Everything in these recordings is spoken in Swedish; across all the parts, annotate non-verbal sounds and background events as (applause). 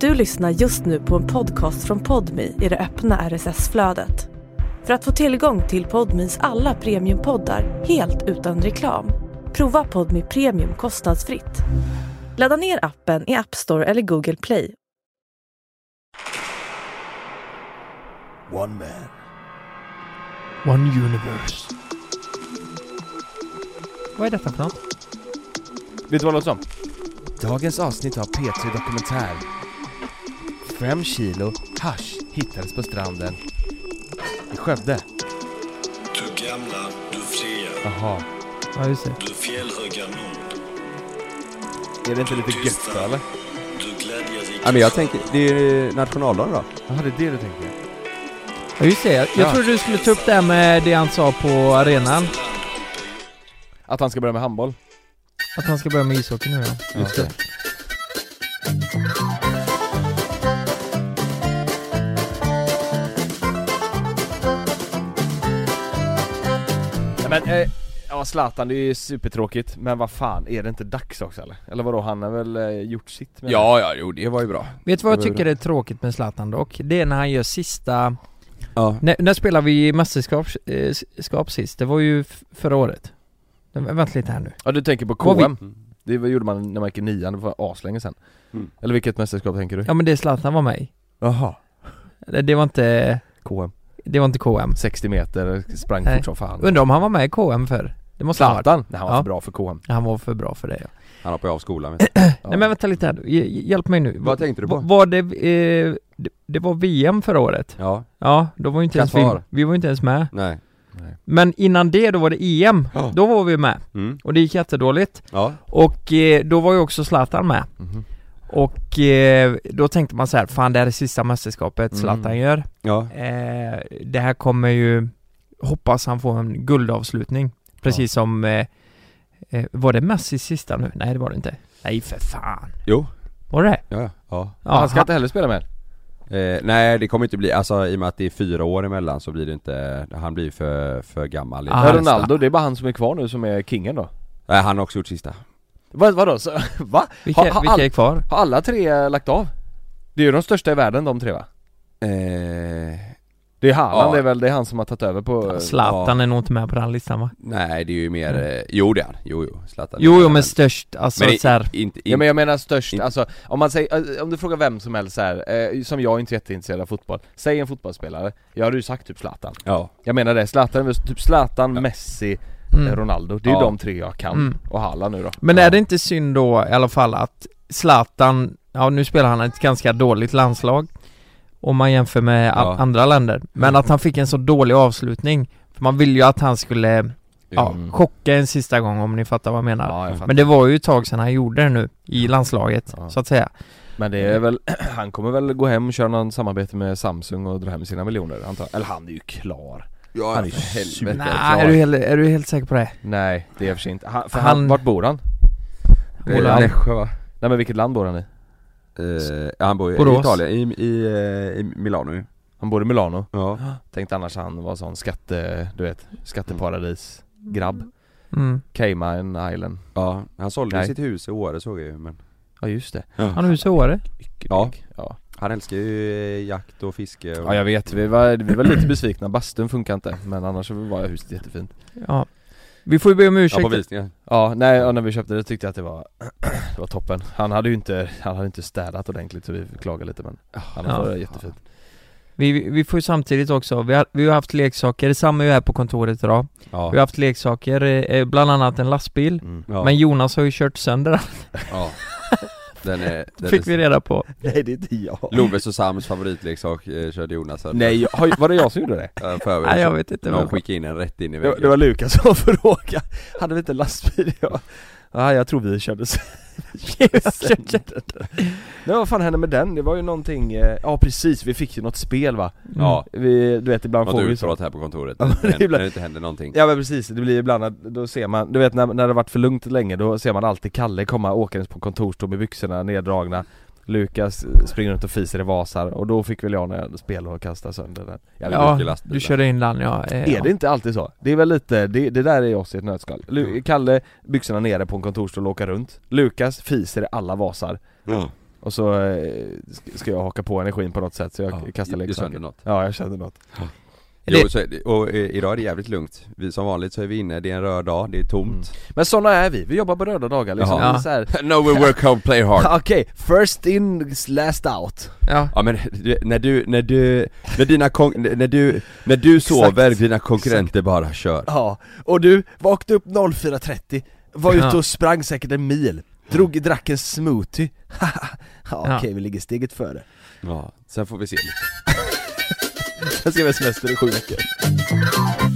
Du lyssnar just nu på en podcast från Podmi i det öppna RSS-flödet. För att få tillgång till Podmis alla premiumpoddar helt utan reklam, prova Podmi Premium kostnadsfritt. Ladda ner appen i App Store eller Google Play. One man. One universe. Vad är detta för något? Vet du vad det låter som? Dagens avsnitt av P3 Dokumentär. Fem kilo hasch hittades på stranden i Skövde. Du gamla, du fria, Jaha, Ja, just det. du fjällhöga nord, är det inte lite gött då, eller? du glädjerika... Ja, men jag tänker, det är ju nationaldagen då. Jaha, det är det du tänker? Ja, just det. Jag, jag Ja. trodde du skulle ta upp det här med det han sa på arenan. Att han ska börja med handboll? Att han ska börja med ishockey nu ja. Just det. Nej, men, eh, ja Zlatan det är ju supertråkigt, men vad fan, är det inte dags också eller? Eller vadå, han har väl eh, gjort sitt? med- Ja, ja, jo det var ju bra. Vet du vad jag Det var tycker är tråkigt med Zlatan dock? Det är när han gör sista... Ja. När, när spelade vi mästerskap eh, s- skap sist? Det var ju f- förra året. Men Vänta lite här nu. Ja du tänker på Vad vi- KM? Det var- gjorde man när man gick i nian, det var aslänge sen Mm. Eller vilket mästerskap tänker du? Ja men det Zlatan var med i. Jaha Eller, Det var inte... KM, Det var inte KM. 60 meter, sprang Nej. fort som fan Undrar om han var med i KM för Det måste han ha varit. Zlatan? Nej han var Ja. för bra för KM Han var för bra för det ja. Han hoppade av skolan. vet du. Ja. Nej men vänta lite här nu. Hj- hj- Hjälp mig nu. Vad tänkte du på? Va- Var det... Eh, det, det var VM förra året. Ja, Ja, då var ju inte ens vi, Qatar. vi var ju inte ens med. nej. Men innan det då var det EM, Ja. då var vi med Mm. och det gick jättedåligt Ja. och eh, då var ju också Zlatan med Mhm. och eh, då tänkte man så här, fan det här är sista mästerskapet Zlatan Mm. gör Ja. eh, Det här kommer ju, hoppas han får en guldavslutning Precis som, eh, eh, var det Messis sista nu? Nej det var det inte Nej för fan Jo. Var det Ja, ja. ja. ja, Han ska inte heller spela med? Eh, nej det kommer inte bli, alltså i och med att det är fyra år emellan så blir det inte, han blir ju för, för gammal. Ah. Ja, Ja, Ronaldo, det är bara han som är kvar nu som är kingen då Nej han har också gjort sista. Vad, vadå? Så, (laughs) va? Vilka, Har- har all- vilka är kvar? Har alla tre lagt av? Det är ju de största i världen de tre va? Eh, Det är Haaland, Ja. det är väl, det är han som har tagit över på... Zlatan är nog inte med på den listan va? nej det är ju mer, eh, jo det är han. Jo jo, Zlatan. Jo, jo men störst, alltså men i- så här, inte, Ja men jag menar störst, Inte- alltså om man säger, eh, om du frågar vem som helst så här, eh, som jag är inte är jätteintresserad av fotboll Säg en fotbollsspelare, jag hade ju sagt typ Zlatan ja. Jag menar det, Zlatan, är väl typ Zlatan, Ja. Messi, eh, mm. Ronaldo Det är ju Ja. de tre jag kan, Mm. och Haaland nu då Men Ja. är det inte synd då i alla fall att Zlatan, ja nu spelar han ett ganska dåligt landslag om man jämför med a- Ja. andra länder, Mm. men att han fick en så dålig avslutning för man ville ju att han skulle ja, Mm. chocka en sista gång om ni fattar vad jag menar Ja, jag fattar. Men det var ju ett tag sedan han gjorde det nu, i landslaget, Ja. så att säga Men det är väl, (clears throat) han kommer väl gå hem och köra någon samarbete med Samsung och dra hem sina miljoner antar jag. Eller han är ju klar Ja, Han är ju för helvete. superklar Nej, är du, helt, är du helt säker på det? Nej det är i och för sig inte, han, för han, Han- vart bor han? Eh, Holland. Nässjö va? Nej men vilket land bor han i? Eh, ja, han bor ju Borås. i Italien, i, i, eh, i Milano ju. Han bor i Milano Ja. Tänkte annars han var sån skatte, du vet, skatteparadis grabb Mm. Cayman Island Ja, han sålde Nej. sitt hus i Åre såg jag ju men Ja just det Han har ju så det. Ja. Ja, Han älskar ju eh, jakt och fiske och... ja jag vet, vi var, vi var lite besvikna, bastun funkar inte men annars så var huset jättefint Ja Vi får ju be om Ja, ursäkt på visningar. Ja, nej ja, när vi köpte det tyckte jag att det var, (clears throat) det var toppen Han hade ju inte, han hade inte städat ordentligt så vi klagade lite men annars Ja. var det (laughs) jättefint vi, vi får ju samtidigt också, vi har, vi har haft leksaker, detsamma är ju här på kontoret idag Vi har Ja. haft leksaker, eh, bland annat en lastbil mm. ja. Men Jonas har ju kört sönder den, ja. Den (laughs) är... Den fick vi är... reda på Nej det är inte jag Loves och Sams favoritleksak eh, körde Jonas här. Nej, jag, har- var det jag som gjorde det? Eh, För övrigt. Nej jag vet inte Någon vad skickade in den rätt in i (laughs) Det var, väggen. det var Lukas som frågade, hade vi inte lastbil? Jag, ah, jag tror vi körde s- (laughs) sönder den. Nej vad fan hände med den? Det var ju någonting, eh, ja precis, vi fick ju något spel va? Mm. Ja, Vi, du vet ibland får något vi så utbrott här på kontoret. (laughs) Ja, det är När ibland- när det inte händer någonting. Ja men precis, det blir ibland att, då ser man, du vet när, när det varit för lugnt länge då ser man alltid Kalle komma åkandes på kontorsstol med byxorna neddragna Lukas eh, springer runt och fiser i vasar och då fick väl jag när jag spelade och kastade sönder den Jävligt mycket Ja, lastbilar. du körde in den ja, eh, Är det inte alltid så? Det är väl lite, det, det där är oss i ett nötskal Mm. Lu- Kalle, byxorna nere på en kontorsstol och åka runt Lukas fiser i alla vasar Ja. Och så eh, sk- ska jag haka på energin på något sätt så jag kastar Du sönder leksaker något. Ja, jag kände något Det- Jo, så, är det- och eh, idag är det jävligt lugnt. Vi som vanligt så är vi inne, det är en röd dag, det är tomt. Men såna är vi, vi jobbar på röda dagar liksom Jaha. Det är så här, (laughs) Mm. no we work hard, play hard. (laughs) (laughs) Okej, first in, last out Ja. Ja men du- när du, när du, när dina kon- när du, när du sover, dina konkurrenter bara kör Ja, och du vaknade upp 04.30 Var Ja. Mm. ute och sprang säkert en mil Drog, drack en smoothie (laughs) Haha, ja, okej Ja. vi ligger steget före Ja, sen får vi se lite Sen ska vi ha semester i sju veckor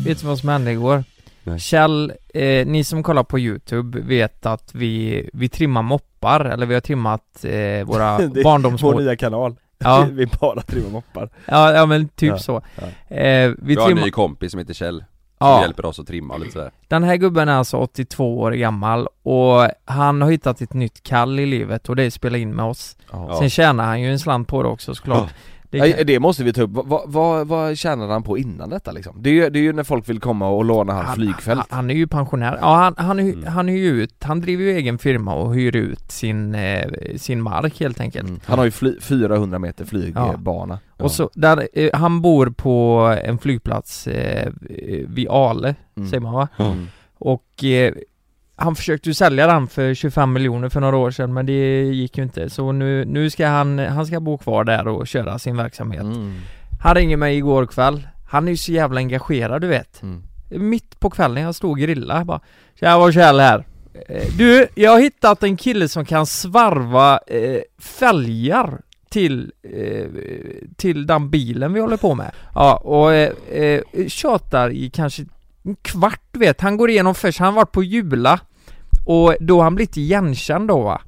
Vet du vad som hände igår? Nej. Kjell, eh, ni som kollar på YouTube vet att vi, vi trimmar moppar, eller vi har trimmat eh, våra (laughs) Det är Vår barndomsmoppar. nya kanal, Ja, (laughs) vi bara trimmar moppar ja, ja, men typ Ja, så. ja. Eh, vi Vi har en trimmar... ny kompis som heter Kjell, som Ja, hjälper oss att trimma och lite sådär den här gubben är alltså 82 år gammal och han har hittat ett nytt kall i livet och det är att spela in med oss. Ja. Sen tjänar han ju en slant på det också såklart. Det Nej, kan... Det måste vi ta upp, vad, vad, vad, vad tjänade han på innan detta liksom? Det är, ju- det är ju när folk vill komma och låna hans flygfält Han, han är ju pensionär. Ja, han, han, hy- Mm. han hyr ju ut, han driver ju egen firma och hyr ut sin, eh, sin mark helt enkelt. Mm. Han har ju fly, 400 meter Ja. flygbana Och så, där, eh, han bor på en flygplats eh, vid Ale, Mm. säger man va? Mm. Och eh, han försökte ju sälja den för 25 miljoner för några år sedan men det gick ju inte. Så nu, nu ska han, han ska bo kvar där och köra sin verksamhet. Mm. Han ringer mig igår kväll. Han är ju så jävla engagerad du vet. Mm. Mitt på kvällen, jag stod och grillade bara Tja, var Kjell här. Eh, Du, jag har hittat en kille som kan svarva eh, fälgar till, eh, till den bilen vi håller på med. Ja, och eh, eh, tjatar i kanske en kvart du vet. Han går igenom först, han har varit på Jula och då har han blivit igenkänd då va.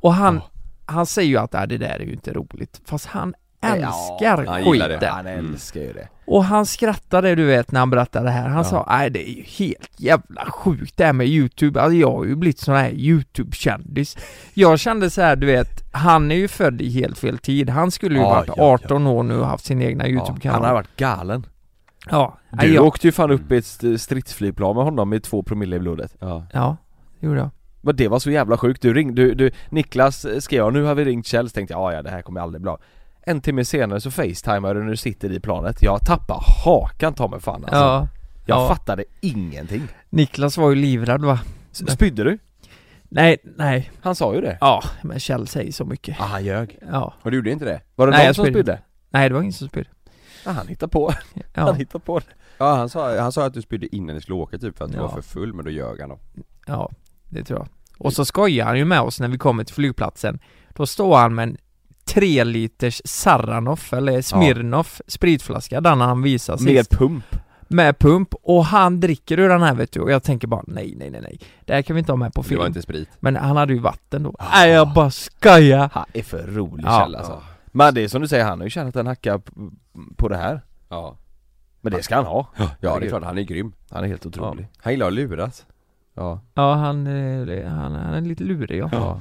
Och han, han säger ju att äh, det där är ju inte roligt. Fast han älskar han gillar skiten. det. Han älskar ju det Och han skrattade du vet när han berättade det här, han sa nej det är ju helt jävla sjukt det här med youtube, alltså jag har ju blivit sån här youtube-kändis Jag kände så här, du vet, han är ju född i helt fel tid, han skulle ju Ja, varit ja, ja. 18 år nu och haft sin egna ja, Han youtube-kanal har Ja, varit galen nej, Du jag, åkte ju fan upp i ett st- stridsflygplan med honom med två promille i blodet Ja, ja, det gjorde jag Men det var så jävla sjukt, du ringde, du, du Niklas eh, skrev jag, nu har vi ringt Kjell, så tänkte jag "Ja, ja det här kommer aldrig bli bra En timme senare så facetimar du när du sitter i planet, jag tappar hakan ta mig fan alltså. Ja, Jag ja. fattade ingenting Niklas var ju livrädd va? S- Spydde du? Nej, nej, Han sa ju det ja, men Kjell säger så mycket Ah han ljög Ja, och du gjorde inte det? Var det Nej, någon jag som spydde. spydde? nej det var ingen som spydde Ah, han hittade på, (laughs) han ja, hittade på det Ja han sa, han sa att du spydde innan ni skulle åka typ för att du Ja. var för full, men då ljög han då ja, det tror jag Och så skojar han ju med oss när vi kommer till flygplatsen Då står han med en tre liters Saranoff eller Smirnoff spritflaska, den han visar sist Mer pump Med pump, och han dricker ur den här vet du Och jag tänker bara nej, nej, nej, nej Det här kan vi inte ha med på Det var film inte sprit Men han hade ju vatten då Nej jag bara skojar! Han är för rolig Ja. Kjell alltså Men det är som du säger, han har ju tjänat en hacka p- på det här Ja, Men det ska han ha ja det är klart, han är grym Han är helt otrolig Han gillar att luras Ja, Ja han, eh, han, han är lite lurig ja. ja.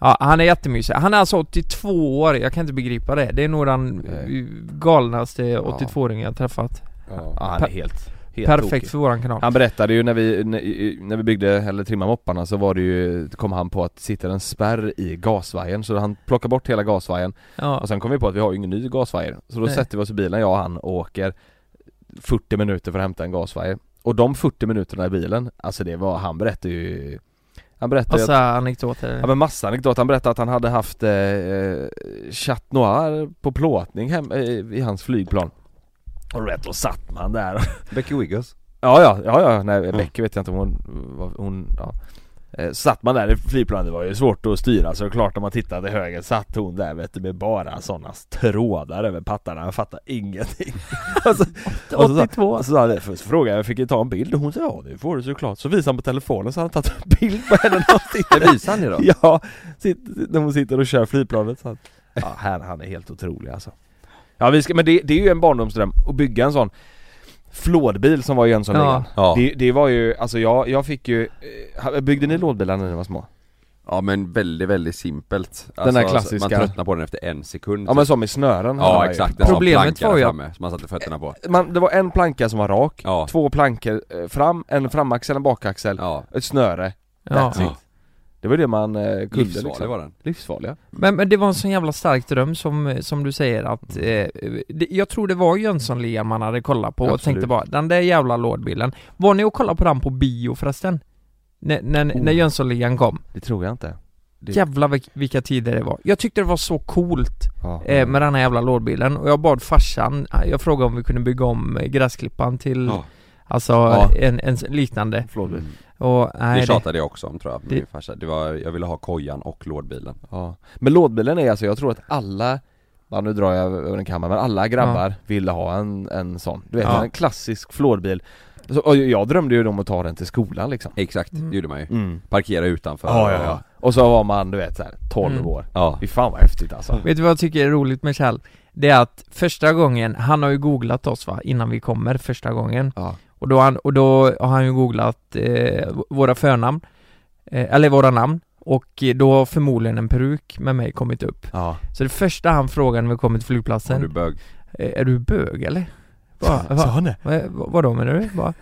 ja han är jättemysig, han är alltså 82 år, jag kan inte begripa det Det är nog den Nej. eh, galnaste 82-åringen jag träffat Ja, han är helt, helt tokig. Perfekt för våran kanal Han berättade ju när vi, när- när vi byggde, eller trimmade mopparna så var det ju, kom han på att det sitter en spärr i gasvajern så han plockar bort hela gasvajern Ja, och sen kom vi på att vi har ju ingen ny gasvajer så då Nej. sätter vi oss i bilen, jag och han, och åker 40 minuter för att hämta en gasvajer och de 40 minuterna i bilen, alltså det var, han berättade ju Han berättade ju massa anekdoter Ja men massa anekdot, han berättade att han hade haft eh, eh, Chat Noir på plåtning hem, eh, i hans flygplan Och rätt då satt man där (laughs) Becky Wiggles Ja ja, ja ja, nej Becky vet jag inte om hon, vad hon, ja Eh, Satt man där i flygplanet, det var ju svårt att styra så det är klart om man tittade till höger satt hon där vet du med bara sådana trådar över pattarna, jag fattade ingenting (laughs) alltså, och så sa- 82 och så sa han, först frågade jag, fick jag ta en bild? Och hon sa ja det får du såklart, så visade han på telefonen så hade han tagit en bild på henne när hon sitter Det visar han ju då (laughs) Ja, sitt, när hon sitter och kör flygplanet så att, (laughs) ja, han, han är helt otrolig alltså. Ja vi ska, men det, det är ju en barndomsdröm att bygga en sån Flådbil som var i Jönssonligan. Ja. Det, det var ju, alltså jag, jag fick ju, eh, byggde ni lådbilar när ni var små? Ja men väldigt, väldigt simpelt Alltså, Den där klassiska- Man tröttnar på den efter en sekund typ. Ja men som i snören hade man Ja ju. exakt, den Problemet Problemet var var ju- framme som man satte fötterna på Man, det var en planka som var rak, Ja. två plankor eh, fram, en framaxel, en bakaxel, Ja, ett snöre. ja. That's it. Det var ju det man eh, kunde Livsfarlig liksom. var den Livsfarliga Men, men det var en sån jävla stark dröm som, som du säger att eh, det, Jag tror det var Jönssonligan man hade kollat på och Absolut. tänkte bara Den där jävla lådbilden Var ni och kollade på den på bio förresten? När, när, när Oh. Jönssonligan kom? Det tror jag inte Det- Jävlar vilk- vilka tider det var Jag tyckte det var så coolt ja. eh, med den här jävla lådbilen och jag bad farsan eh, Jag frågade om vi kunde bygga om eh, gräsklippan till Ja. Alltså Ja. en, en liknande Förlåt. och, nej, Det det, tjatade jag också om tror jag, med Det- min farsa. Det var, jag ville ha kojan och lådbilen Ja. Men lådbilen är alltså, jag tror att alla Ja, nu drar jag över en kammare, men alla grabbar ville ha en, en sån Du vet, Ja. en klassisk flådbil så, och Jag drömde ju om att ta den till skolan liksom Exakt, Mm. det gjorde man ju mm. Parkera utanför och- Och så var man, du vet såhär, 12 Mm. år ja. Fy fan vad häftigt alltså Vet du vad jag tycker är roligt med Kjell? Det är att första gången, han har ju googlat oss va, innan vi kommer första gången Ja. och, då har han, och då har han ju googlat eh, v- våra förnamn, eh, eller våra namn och eh, då har förmodligen en peruk med mig kommit upp Ja, Så det första han frågar när vi kommer till Har flygplatsen, du bög? eh, är du bög eller? (laughs) Bara, va, han det? va, va, vadå menar du? Bara,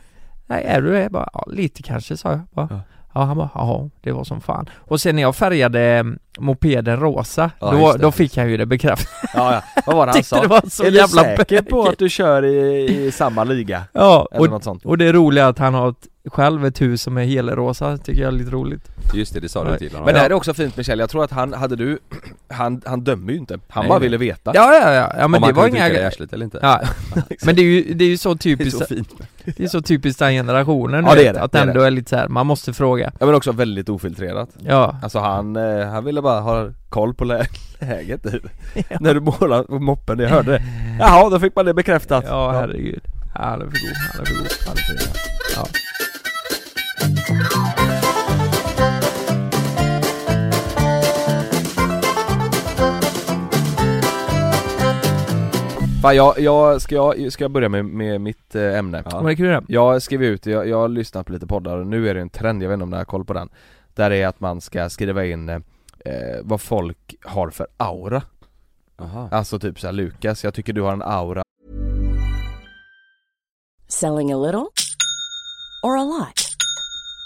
Nej, är du det? Bara, ja, lite kanske sa jag bara. Ja. Ja. han bara, jaha, det var som fan. Och sen när jag färgade eh, mopeden rosa, Ja, då, just det. då fick han ju det bekräftat Ja, ja. vad var det han tyckte sa? det var så är jävla du säker bökigt. på att du kör i, i samma liga? Ja, Eller och, något sånt och det är roliga är att han har ett, själv ett hus som är helrosa, tycker jag är lite roligt Just det, det sa Nej. du till honom Men det Ja. här är också fint Michelle, jag tror att han, hade du (clears throat) Han, han dömer ju inte, han Nej, bara nej. ville veta Ja, ja, ja, ja men Om det han var kunde tycka inga det i grejer arslet eller inte (laughs) ja. Men det är ju, det är ju så Det är typiskt, så fint det är så typiskt den generationen Ja, du det vet, är det, att det är ändå är lite så här, man måste fråga Ja men också väldigt ofiltrerat Ja, Alltså han, eh, han ville bara ha koll på lä- (laughs) läget typ När du målade på moppen, jag hörde det Jaha, då fick man det bekräftat ja herregud Han är för god, han är för god, han är för god ja. Fan, jag, jag, ska, jag, ska jag börja med, med mitt eh, ämne? Vad är det kul det? Jag skrev ut, jag, jag har lyssnat på lite poddar och nu är det en trend, jag vet inte om ni har koll på den Där är att man ska skriva in eh, eh, vad folk har för aura Jaha Alltså typ såhär Lukas, jag tycker du har en aura Selling a little or a lot?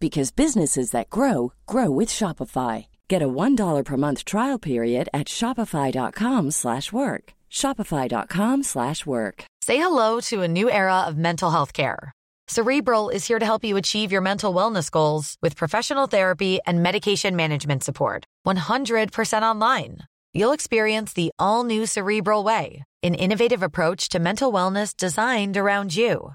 because businesses that grow grow with Shopify. Get a $1 per month trial period at shopify.com/work. slash work. shopify.com/work. slash work. Say hello to a new era of mental health care. Cerebral is here to help you achieve your mental wellness goals with professional therapy and medication management support. 100% online. You'll experience the all new Cerebral Way, an innovative approach to mental wellness designed around you.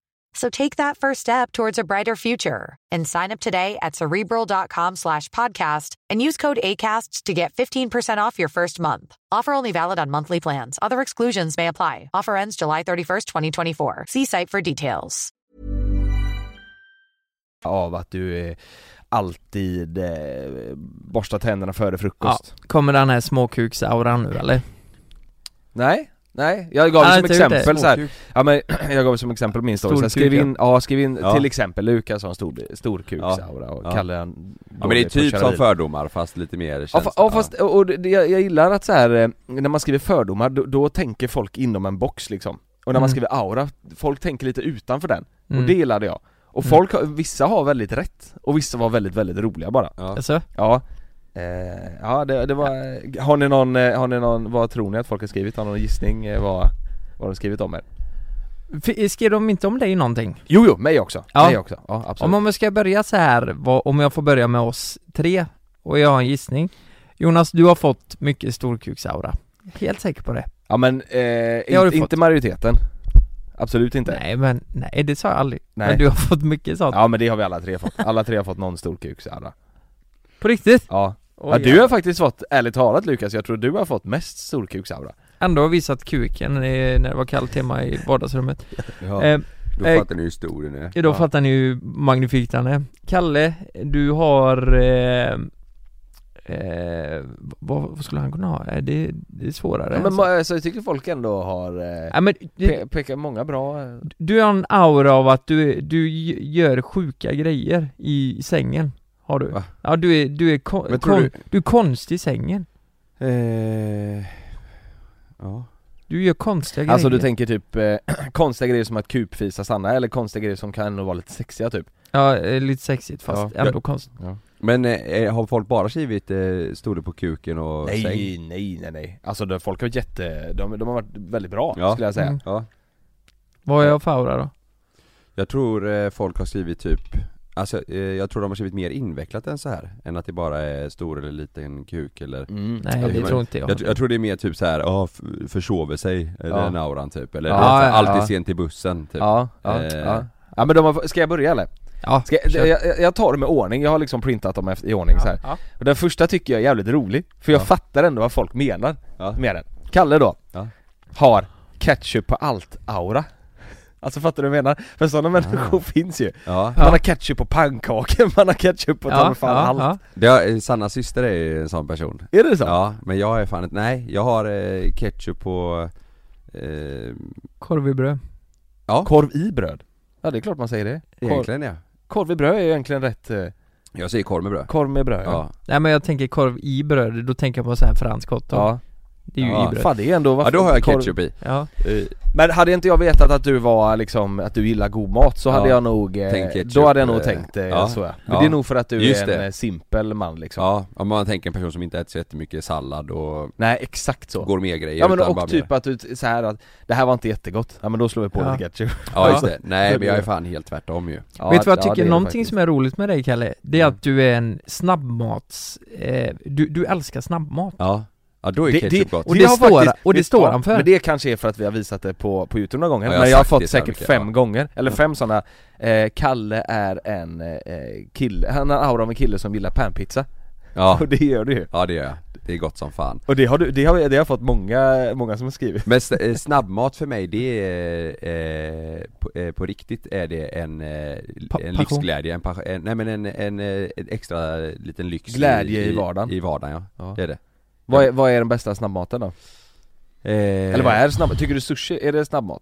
So take that first step towards a brighter future and sign up today at cerebral.com slash podcast and use code ACAST to get 15% off your first month. Offer only valid on monthly plans. Other exclusions may apply. Offer ends July 31st, 2024. See site for details. av att du eh, alltid eh, borstar tänderna före frukost Kommer den här småkuksauran nu eller? Nej, nej, jag gav Nej, som inte gjort det. exempel så här. Ja men (clears throat) jag gav som exempel på min story, så här, Storkuk, skriv in, ja skriv in Ja. till exempel Lukas har en stor, storkuksaura och Ja. Kalle han Ja men det är typ som fördomar fast lite mer Ja, känns fa- ja fast, och och det, jag, jag gillar att så här eh, när man skriver fördomar då, då tänker folk inom en box liksom Och när man Mm. skriver aura, folk tänker lite utanför den, Mm. och det gillade jag Och Mm. folk, har- vissa har väldigt rätt, och vissa var väldigt väldigt roliga bara ja. Alltså? Ja Eh, ja det, det var, har ni någon, eh, har ni någon, vad tror ni att folk har skrivit? Har ni någon gissning eh, vad, vad de skrivit om er? F- Skrev de inte om dig någonting? Jo, jo, mig också. Ja. Mig också. Ja, absolut. Om, om jag ska börja så här, vad, om jag får börja med oss tre och jag har en gissning Jonas, du har fått mycket storkuksaura Helt säker på det Ja men, eh, har du inte, fått. inte majoriteten. Absolut inte. Nej men, nej det sa jag aldrig. Nej. Men du har fått mycket sånt. Ja men det har vi alla tre fått. Alla tre har fått någon stor kuk Sara. På riktigt? Ja. Oj, ja du har faktiskt fått, ärligt talat Lukas, jag tror du har fått mest storkuksaura Ändå har visat kuken eh, när det var kallt hemma i vardagsrummet. Ja, Eh, då eh, fattar ni hur stor den är Ja, då fattar ni ju magnifikt han är. Kalle, du har... Eh, eh, vad, vad skulle han kunna ha? Eh, Det, det är svårare. ja, än men så. ma- så jag tycker folk ändå har eh, Ja, men, pe- du, pekar många bra eh, du har en aura av att du, du gö- gör sjuka grejer i sängen. Har du. Va? Ja, du är, du är, kon, Men tror kon, du- du... är konstig i sängen. eh, Ja Du gör konstiga Alltså du Äh, grejer. tänker typ eh, (clears throat) konstiga grejer som att kupfisa Sanna eller konstiga grejer som kan ändå vara lite sexiga typ? Ja, eh, lite sexigt fast Ja. ändå konstigt. Men eh, har folk bara skrivit eh, storlek på kuken och säng? Nej, nej, nej, nej. Alltså de, folk har jätte, de, de har varit väldigt bra Ja. skulle jag säga. Mm. Ja, Vad har jag för aura då? jag tror eh, folk har skrivit typ Alltså eh, jag tror de har skrivit mer invecklat än så här än att det bara är stor eller liten kuk eller Mm. Nej, Ja, det men- tror inte jag. jag, jag tror det är mer typ så här, ja f- försover sig, eller Ja. den auran typ, eller Ja, du vet, så här, ja, alltid ja. sent i bussen typ Ja, ja, Eh. ja. ja men de har, ska jag börja eller? Ja, Ska kör. jag, jag, jag tar dem i ordning, jag har liksom printat dem efter- i ordning så här. Ja. Och den första tycker jag är jävligt rolig, för jag Ja. fattar ändå vad folk menar Ja. med den Kalle då, Ja. har ketchup på allt-aura Alltså fattar du vad jag menar? För sådana människor (laughs) finns ju Ja, Man har ketchup på pannkakor, (laughs) man har ketchup på ta mig fan allt ja. det har, eh, Sannas syster är en sån person Är det så? Ja, men jag är fan ett, nej, jag har eh, ketchup på eh, Korv i bröd. Ja, Korv i bröd? Ja det är klart man säger det Korv, egentligen ja korv i bröd är ju egentligen rätt, eh, Jag säger korv med bröd korv med bröd ja, Ja, Nej men jag tänker korv i bröd, då tänker jag på så här fransk hotdog. ja. Det är ju Ja. i bröd. Fan det är ändå, ja varför- då har jag korv- ketchup i Ja. Men hade inte jag vetat att du var liksom, att du gillar god mat så hade Ja. jag nog, eh, Tänk ketchup, då hade jag nog eh, tänkt eh, ja. så ja. Men Ja. det är nog för att du Just är en det. eh, simpel man liksom Ja, om man tänker en person som inte äter så jättemycket sallad och Nej exakt så gourmetgrejer Ja men utan bara och typ mer. att du, t- så här att, det här var inte jättegott, ja men då slår vi på Ja. lite (laughs) ketchup Ja just det, nej men jag är fan helt tvärtom ju Ja, Vet du vad jag ja, det tycker? är det Någonting faktiskt. som är roligt med dig Kalle, det är Mm. att du är en snabbmats... Eh, du, du älskar snabbmat. Ja, ja då är Det- ketchup det- gott Och det, har står, faktiskt- och det vet- står ja, han för. Men det kanske är för att vi har visat det på, på youtube några gånger, Ja, jag har men jag har sagt fått det så här säkert mycket, fem ja. gånger, eller fem sådana eh, Kalle är en eh, kille, han har aura av en kille som gillar panpizza, Ja, och det gör du ju ja det gör jag, det är gott som fan Och det har du, det har, det har jag fått många, många som har skrivit Men s- eh, snabbmat för mig det är, eh, på, eh, på riktigt är det en, eh, Pa- en passion. livsglädje, en, passion- en, nej men en, en, eh, en extra liten lyx Glädje i vardagen. I vardagen ja, Ja. det är det Vad är, vad är den bästa snabbmaten då? eh, Eller vad är snabbmat? Tycker du sushi, är det snabbmat?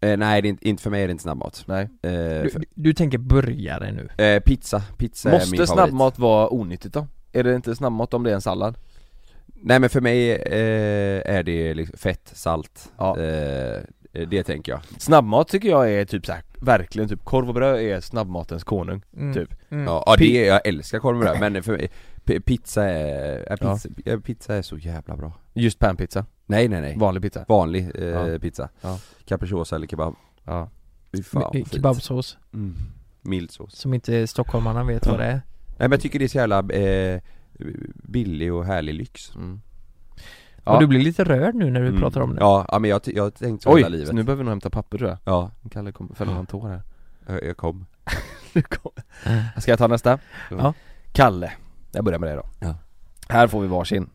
Eh, nej det är inte, inte, för mig är det inte snabbmat Nej eh, du, för, du tänker burgare nu. eh, Pizza, pizza är Måste min favorit snabbmat vara onyttigt då? Är det inte snabbmat om det är en sallad? Nej men för mig eh, är det liksom fett, salt, Ja. eh, det tänker jag Snabbmat tycker jag är typ så här, verkligen typ korv och bröd är snabbmatens konung Mm. Typ. Mm. Ja, ja det är, jag älskar korv med bröd men för mig, p- pizza är, ja, pizza, ja. pizza är så jävla bra Just panpizza, Nej nej nej vanlig pizza Vanlig eh, Ja. pizza Ja. Capricciosa eller kebab Ja, Fy fan vad Med- fint. Kebabsås, mm. Mild sås som inte stockholmarna vet vad det är. Nej men jag tycker det är så jävla eh, billig och härlig lyx mm. Och du blir lite rörd nu när du pratar om det. Mm. Ja, ja men jag, ty- jag har tänkt så hela Oj, livet så nu behöver vi nog hämta papper tror jag Ja, Kalle kommer fälla en tår här jag, jag kom Nu kommer- Eh. Ska jag ta nästa? Ja. Kalle, jag börjar med dig då Ja. Här får vi varsin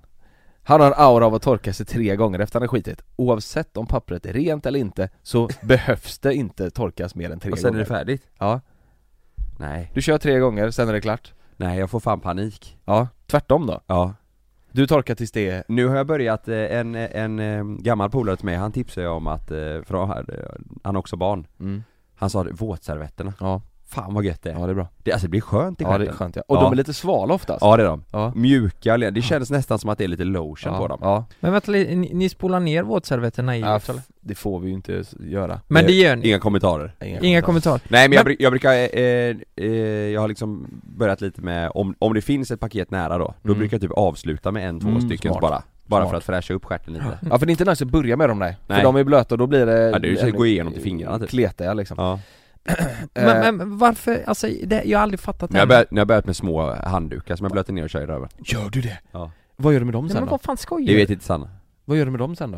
Han har en aura av att torka sig tre gånger efter han har skitit Oavsett om pappret är rent eller inte (laughs) så behövs det inte torkas mer än tre Och sen är gånger det färdigt? Ja. Nej, Du kör tre gånger, sen är det klart nej jag får fan panik Ja, tvärtom då Ja Du torkar tills det är... Nu har jag börjat, eh, en, en eh, gammal polare till mig, han tipsade ju om att, eh, för han har- han har också barn Han sa det, våtservetterna Ja. Fan vad gött Mm. det är Ja det är bra det, Alltså det blir skönt i Ja det stjärten är skönt ja. Och Ja. de är lite svala oftast Ja det är de, Ja. mjuka, det känns nästan som att det är lite lotion ja. på dem Ja, Men vänta, li- ni, ni spolar ner våtservetterna i Ja, eller? f- det får vi ju inte s- göra Men det gör ni. Inga kommentarer Inga kommentarer. Nej men jag, Men- bru- jag brukar, eh, eh, jag har liksom börjat lite med, om, om det finns ett paket nära då, då Mm. brukar jag typ avsluta med en, två Mm, stycken smart. bara Bara Smart. för att fräscha upp stjärten lite (laughs) Ja för det är inte nice att börja med dem nej, Nej. för de är blöta och då blir det... Ja, det är ju så att ännu- gå igenom till fingrarna, typ. Kletiga liksom Ja. Eh, Men, men varför, alltså det, jag har aldrig fattat Men jag har än. börjat, jag har börjat med små handdukar som jag blöter ner och kör i röven Gör du det? Ja. Vad gör du med dem Nej, sen men då? vad fan skojar Det du? vet inte Sanna Vad gör du med dem sen då?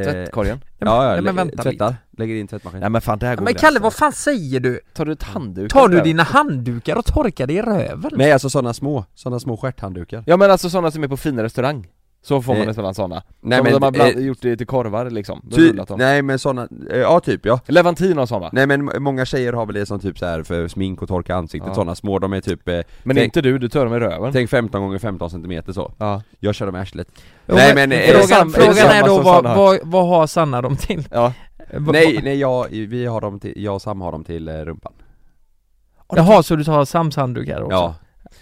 Eh, Tvättkorgen? Ja, ja, Nej, men lä- vänta tvättar. Lägger in tvättmaskinen. Nej men fan det här går Men Kalle, vad fan säger du? Tar du ett handduk? Tar du eller? dina handdukar och torkar dig i röven? Nej alltså sådana små, sådana små stjärthanddukar. Ja men alltså sådana som är på fin restaurang Så får man Eh, nästan sådana nej, Som men, de har bland, eh, gjort det till korvar liksom, de har Ty, rullat dem nej men sådana, eh, ja typ ja. Levantin har såna, Nej men många tjejer har väl det som typ så här för smink och torka ansiktet, Ja. sådana små, de är typ, eh, men tänk, inte du, du tar dem i röven tänk 15 gånger 15 centimeter så. Ja, Jag kör dem i arslet. Jo, nej men, eh, det frågan, samma- frågan är det är samma då som vad, Sanna har? vad, vad har Sanna dem till? Eh, ja. Va- nej, nej jag, vi har dem till, jag och Sam har dem till eh, rumpan. Jaha, så du tar Sams handdukar också? Ja.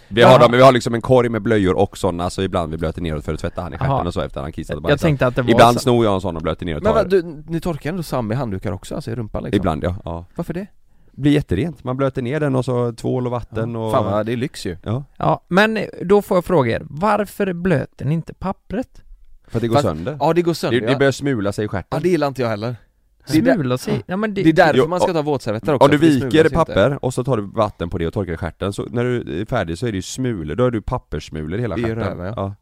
Vi Jaha. har, dem, vi har liksom en korg med blöjor och sådana, så ibland vi blöter neråt för att tvätta han i Jaha. stjärten och så efter han kissat och Jag bajsat. tänkte att det var Ibland så. snor jag en sån och blöter neråt Men och tar vad, det. du, ni torkar ändå Sam i handdukar också, alltså i rumpan liksom? Ibland ja. ja. Varför det? Blir jätterent, man blöter ner den och så tvål och vatten och... Fan vad, det är lyx ju Ja, Ja, men då får jag fråga er, varför blöter ni inte pappret? för att det går Fast- sönder. Ja det går sönder, Det, ja. det börjar smula sig i stjärten. ja det gillar inte jag heller Det är där- Smula sig? Ja men det... Det är därför Jo, man ska och- ta våtservetter också Om du för det smulas viker inte. papper och så tar du vatten på det och torkar i stjärten, så när du är färdig så är det ju smulor, då har du papperssmulor i hela I stjärten. röven, ja. ja.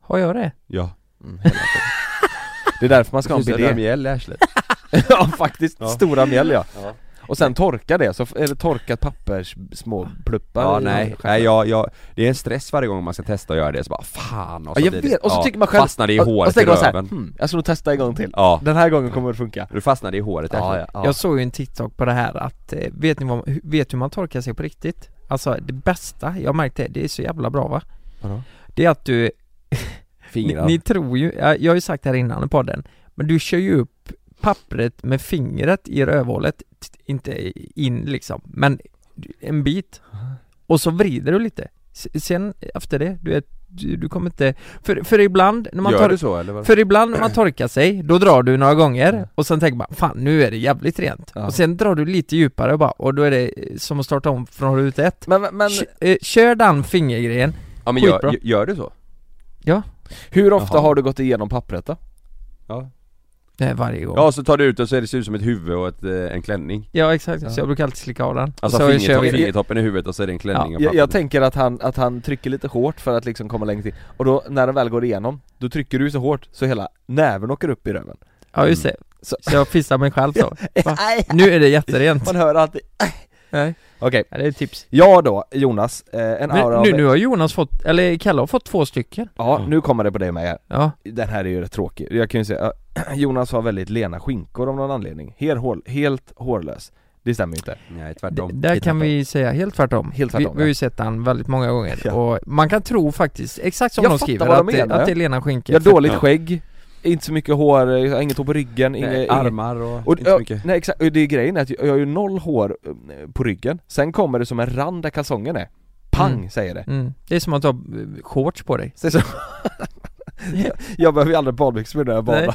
Har jag det? Ja. Mm, hela tiden. Det är därför man ska ha en bidé mjäll i arslet. (laughs) Ja faktiskt, Ja. stora mjäll ja. Ja. Och sen torka det, så f- eller torkat pappers små pluppar Ja, i nej, stjärten. nej jag, jag, det är en stress varje gång man ska testa att göra det, så bara fan och så Ja, jag blir vet, det, och så tycker man själv Fastnar det i och- och håret i så tänker man så här, röven. hmm, jag ska nog testa en gång till Ja, Den här gången kommer det funka du fastnar det i håret i arslet. Jag såg ju en TikTok på det här att, eh, vet ni vad, vet hur man torkar sig på riktigt? Alltså det bästa, jag märkte det, det är så jävla bra va? Vadå? Det är att du, ni, Fingrar. ni tror ju, jag, jag har ju sagt det här innan i podden, men du kör ju upp pappret med fingret i rövhålet, t- inte in liksom, men en bit. Och så vrider du lite. S- Sen efter det, du vet, du, du kommer inte, för, för ibland när man Gör tar du så eller? Vad? För ibland när man torkar sig, då drar du några gånger och sen tänker man 'Fan, nu är det jävligt rent' Ja. Och sen drar du lite djupare och bara, och då är det eh, som att starta om från ruta ett Men, men Kö- eh, Kör den fingergrejen ja men skitbra. gör, gör du så? hur ofta Jaha. har du gått igenom pappret då? Ja. eh, varje gång Ja, ja, så tar du ut den så är det ser ut som ett huvud och ett, eh, en klänning. exakt, så jag brukar alltid slicka av den Alltså så fingertopp, vi- fingertoppen i huvudet och så är det en klänning Ja, och Jag, papper. jag tänker att han, att han trycker lite hårt för att liksom komma längre till Och då, när den väl går igenom, då trycker du så hårt så hela näven åker upp i röven Ja just det, så, så jag pissar mig själv (laughs) så Va? Mm. Aj, Nu är det (laughs) jätterent Man hör alltid Nej, Okej, ja, det är ett tips jag då, Jonas, eh, en aura Men av... nu, nu har Jonas fått, eller Kalle har fått två stycken Ja, nu kommer det på dig med här. Ja, Den här är ju rätt tråkig, jag kan ju säga (clears throat) eh, Jonas har väldigt lena skinkor av någon anledning, helt, hår, helt hårlös Det stämmer ju inte Nej, D- tvärtom. där kan vi säga helt tvärtom. Helt vi, tvärtom, vi har ja. ju sett den väldigt många gånger Ja. och man kan tro faktiskt, exakt som Jag de fattar skriver, vad de att, det- menar. att det är lena skinka. Jag har dåligt Ja. skägg, inte så mycket hår, jag har inget hår på ryggen, inga, Nej, inga- armar och, Och, inte så jag, mycket. nej exakt, och det är grejen är att jag jag har ju noll hår eh, på ryggen, sen kommer det som en rand där kalsongen är Pang Mm. säger det! mm. Det är som att ha eh, shorts på dig. Så, (laughs) så, jag behöver ju aldrig badbyxor när jag badar,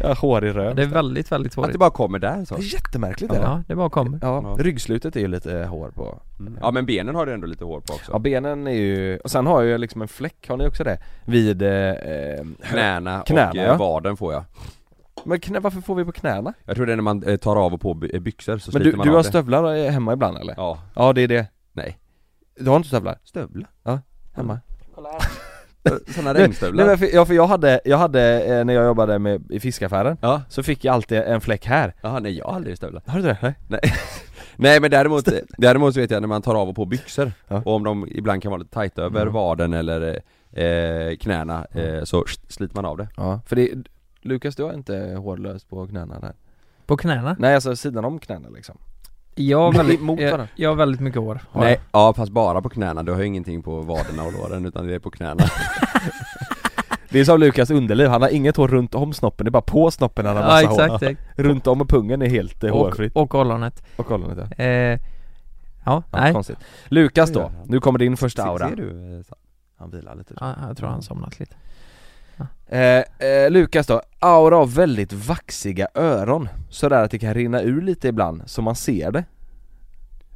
jag har hår i Ja, röv det är väldigt, väldigt Att det hårigt. bara kommer där så. Det är jättemärkligt det där. Ja, det bara kommer. Ja, Ja. ryggslutet är ju lite eh, hår på Ja men benen har du ändå lite hår på också. Ja benen är ju, och sen har jag ju liksom en fläck, har ni också det? Vid, eh, eh, Knäna, Knäna, och ja. eh, vaden får jag. men knä, varför får vi på knäna? Jag tror det är när man eh, tar av och på by- eh, byxor så Men sliter du, man du av har det. stövlar eh, hemma ibland eller? (laughs) Ja. Ja det är det Nej. Du har inte stövlar? Stövlar? Hemma? Sådana Nej, regnstövlar? Nej men för, ja, för jag hade, jag hade, eh, när jag jobbade med, i fiskaffären Ja. Så fick jag alltid en fläck här Jaha, nej jag har aldrig stövlar. Har du det? Nej Nej men däremot, eh, däremot så vet jag när man tar av och på byxor Ja. och om de ibland kan vara lite tajta över Mm. vaden eller eh, knäna eh, så sh- sliter man av det. Ja, för det Lukas du har inte hårlös på knäna där? På knäna? Nej alltså sidan om knäna liksom Jag har väldigt, Mot jag, varandra. jag har väldigt mycket hår. Har Nej, ja fast bara på knäna, du har ju ingenting på vaderna och låren utan det är på knäna. Det är som Lukas underliv, han har inget hår runt om snoppen, det är bara på snoppen han jag. har Ja, massa exakt. hår Runt om och pungen är helt eh, hårfritt Och, och ollonet. Och kolla lite Eh, ja, Ja, nej. konstigt. Lukas då, Ja, ja. nu kommer din första aura Ser du? eh, så- Han vilar lite Ja, jag tror han somnat lite. eh, eh, Lukas då, aura av väldigt vaxiga öron Sådär att det kan rinna ur lite ibland, så man ser det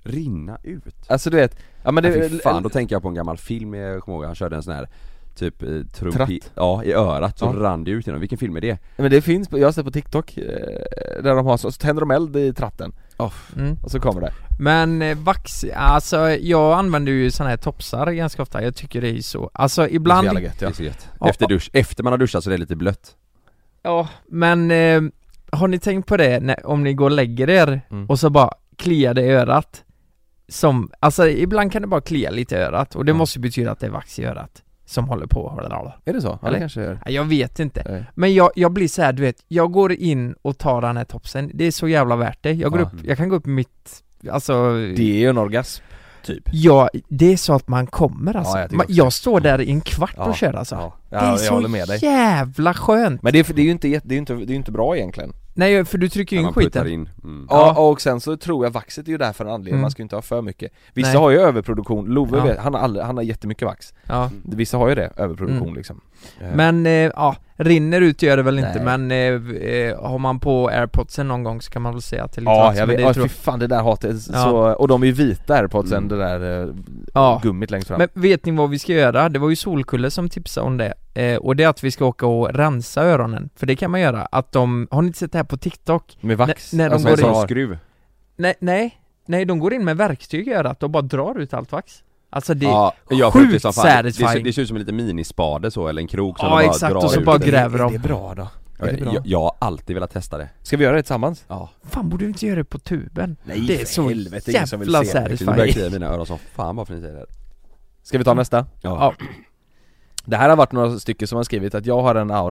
Rinna ut? Alltså du vet, ja men det, ja, fy fan, då tänker jag på en gammal film, jag kommer ihåg, han körde en sån här Typ eh, trumpet, Tratt. ja i örat så Ja. rann det ut genom, vilken film är det? men det finns, på- jag har sett på TikTok eh, Där de har så, så tänder de eld i tratten Mm. och så kommer det Men eh, vax, alltså jag använder ju såna här topsar ganska ofta, jag tycker det är så, alltså Det är så ibland jävla gött, Det ja. är så gött. Ja. Efter dusch, efter man har duschat så det är lite blött Ja, men eh, har ni tänkt på det när, om ni går och lägger er Mm. och så bara kliar det i örat? Som, alltså ibland kan det bara klia lite i örat och det Ja. måste ju betyda att det är vax i örat som håller på och håller av. Är det så? Ja, Eller? det kanske är. Nej, Jag vet inte. Nej. Men jag, jag blir så här, du vet, jag går in och tar den här topsen, det är så jävla värt det. Jag går Ja. upp, jag kan gå upp mitt, alltså Det är ju en orgasm, typ Ja, det är så att man kommer alltså. Ja, jag, jag tycker man, också jag står där i en kvart Ja. och kör alltså. Ja, Det är ja jag så håller med dig jävla skönt! Men det är, det är ju inte, jätte- det är ju inte, det är ju inte bra egentligen Nej, för du trycker ju När in man puttar skiten. in. Mm. Ja, och sen så tror jag vaxet är ju där för en anledning, Mm. man ska ju inte ha för mycket Vissa Nej. har ju överproduktion, Love Ja. vet, han, har aldrig, han har jättemycket vax Ja. Vissa har ju det, överproduktion Mm. liksom Men, eh, ja, rinner ut gör det väl inte Nej. men eh, eh, har man på airpodsen någon gång så kan man väl säga till lite Ja, vax, jag men vet, det ja, tror fy jag- fan det där hatet, Ja. så, och de är ju vita airpodsen, Mm. det där eh, Ja. gummit längst fram Men vet ni vad vi ska göra? Det var ju Solkulle som tipsade om det eh, Och det är att vi ska åka och rensa öronen För det kan man göra, att de, har ni inte sett det här på TikTok? Med vax? N- när de Alltså, går som in- har- skruv. Nej, nej, nej de går in med verktyg i örat och bara drar ut allt vax Alltså det, ja, jag sjukt sjukt som fan. Det, ser- satisfying. det ser ut som en liten minispade så, eller en krok som Ja, de bara exakt, drar och så ut bara det. gräver Är de det bra då? jag, är det bra? jag, jag har alltid velat testa det. Ska vi göra det tillsammans? Ja. Fan borde vi inte göra det på tuben? Nej, det är för så helvete, ingen som vill jävla se det. Nu börjar jag satisfying klia i mina öron som fan bara för att ni säger det. Ska vi ta nästa? Mm. Ja. Det här har varit några stycken som har skrivit att jag har en aura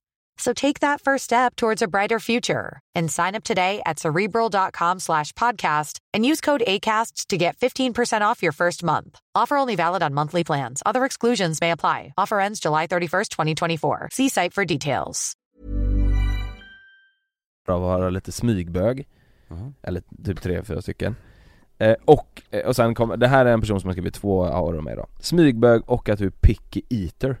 So take that first step towards a brighter future and sign up today at cerebral.com slash podcast and use code ACAST to get 15% off your first month. Offer only valid on monthly plans. Other exclusions may apply. Offer ends July 31st, 2024. See site for details. av att vara lite smygbög Jaha. Eller typ tre, fyra stycken eh, Och, eh, och sen kommer, det här är en person som har skrivit två auror med då Smygbög och att du är picky eater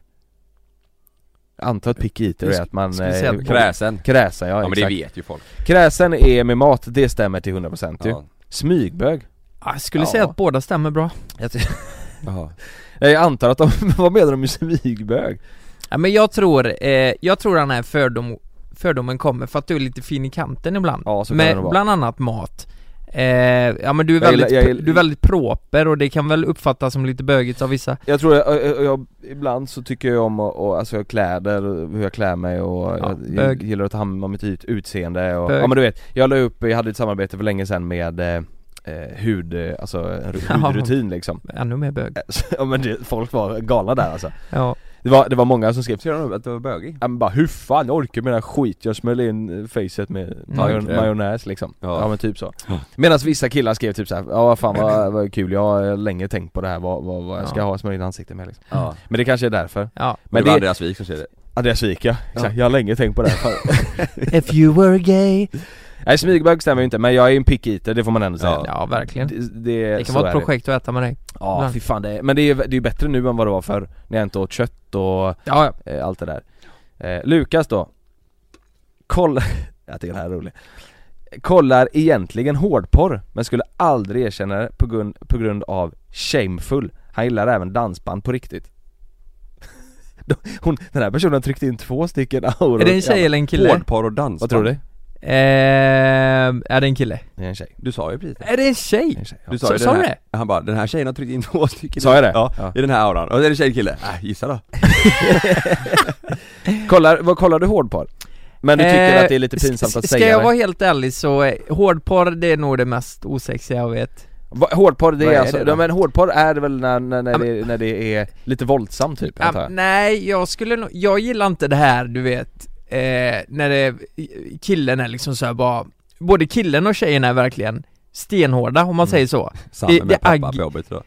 Jag Antar att picky eater Jag är att man... skulle säga att- Kräsen. Kräsen, ja, Ja men det exakt. vet ju folk. Typ, Kräsen är med mat, det stämmer till 100% ju Ja. Smygbög Ja, Jag skulle Ja. säga att båda stämmer bra jag, ty- Eh, jag antar att de, (laughs) vad menar de med smygbög? ja, men jag tror, eh, jag tror den här fördom, fördomen kommer för att du är lite fin i kanten ibland Ja, så kan det Med nog vara. bland annat mat eh, Ja men du är, Jag väldigt, gillar- jag gillar- du är väldigt proper och det kan väl uppfattas som lite bögigt av vissa Jag tror jag, jag, jag, ibland så tycker jag om och, och, alltså jag kläder, och hur jag klär mig och Ja, jag, bög. jag gillar att ta hand om mitt ut- utseende och, Bög. ja men du vet, jag la upp, jag hade ett samarbete för länge sedan med eh, eh, hud, eh, alltså en ru- (laughs) Ja. hudrutin liksom (laughs) Ännu mer bög Så, Ja men det, folk var galna där alltså Ja, Det var, det var många som skrev Ser du att du var bögig? Ja men bara hur fan jag orkar med den här skit jag smäller in eh, facet Mm. med majon, Tandkräm. majonnäs liksom Ja. ja. men typ så Medan vissa killar skrev typ såhär, ja vad fan (laughs) vad, vad kul, jag har länge tänkt på det här vad, vad, vad jag ska Ja. ha smörjda ansiktet med liksom Ja. Men det kanske är därför ja Men Men det det, var Andreas Wik som säger det. Andreas Wik ja, exakt, jag har länge tänkt på det här fan. If you were gay Nej smygbög stämmer ju inte men jag är en pick eater, det får man ändå säga Ja. Ja verkligen Det, Det så kan vara ett är det. projekt att äta med dig Ja ibland. fy fan det är, men det är, det är ju bättre nu än vad det var förr När jag inte åt kött och Ja, ja. eh, allt det där eh, Lukas då Kolla, (laughs) jag tycker det här är roligt Kollar egentligen hårdporr men skulle aldrig erkänna det på grund, på grund av shamefull Han gillar även dansband på riktigt (laughs) Hon, den här personen tryckte in två stycken auror Är det en tjej eller en kille? Hårdporr och dans. Vad tror du? Eh, är det en kille? Det är en tjej, Du sa ju precis det. Är det en tjej? det är en tjej ja. Du Sa- ju sa den du här, Han bara 'Den här tjejen har tryckt in två stycken' Sa jag det? Ja, Ja. i den här auran. Och är det tjej eller kille? Äh, gissa då. Kollar, vad kollar du hårdporr? Men du tycker Eh, att det är lite pinsamt att s- Ska säga jag det? vara helt ärlig så, eh, hårdporr det är nog det mest osexiga jag vet Va- Hårdporr det Vad är är alltså, det då? ja, men hårdporr är väl när, när, när, Ja, det, när det är lite våldsamt typ Ja, antar jag? Nej, jag skulle nog, jag gillar inte det här du vet eh, När det, killen är liksom så här bara Både killen och tjejen är verkligen stenhårda om man Mm. säger så Samma det med är pappa ag- på jobbet idag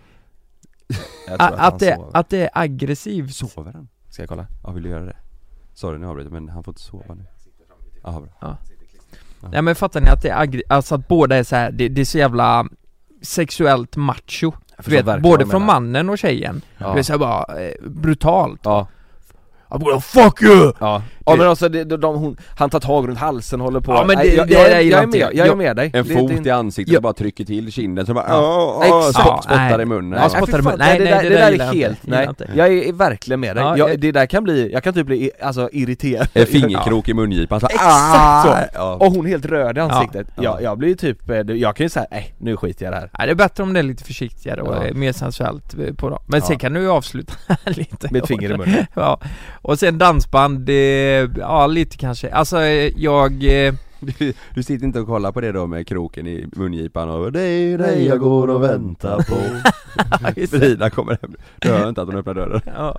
Jag tror att, att, han det, sover. att det är aggressivt Sover han? Ska jag kolla? Ja, vill du göra det? Sorry nu avbryter jag, men han får inte sova nu Jaha bra Ja. Nej men fattar ni att det är aggr- alltså att båda är så här, det, det är så jävla sexuellt macho Du förstår vet, verkligen både vad du från menar. mannen och tjejen Ja. Det är såhär bara, eh, brutalt Ja I'm gonna fuck you! Ja, ja men alltså det, de, de, hon, han tar tag runt halsen håller på Ja, men Nej, det- jag, det jag, är jag, ju är någonting. med, jag är Jag- med dig En Det- det är fot inte- i ansiktet Ja. och bara trycker till kinden så bara Ja. "Åh, åh", Exakt. spott- Spottar Nej. i munnen Ja, spottar i fy fan, munnen. Nej, det, nej, där, det det, där där gillar är jag inte. helt, Gillar nej inte. Jag är verkligen med dig, Ja, jag, jag- det där kan bli, jag kan typ bli i- alltså, irriterad En fingerkrok i mungipan så Ah! Exakt så! Ja. Och hon helt röd i ansiktet Ja. Jag, jag blir typ, eh, jag kan ju säga nej nu skiter jag i det här Nej, det är bättre om det är lite försiktigare och Ja. eh, mer sensuellt eh, på dem Men Ja. sen kan du ju avsluta (laughs) lite Med ett finger i munnen (laughs) Ja, och sen dansband, eh, ja lite kanske Alltså eh, jag... eh, Du, du sitter inte och kollar på det då med kroken i mungipan och Det är dig jag går och väntar på (laughs) Frida kommer hem, du hör inte att hon öppnar dörren ja.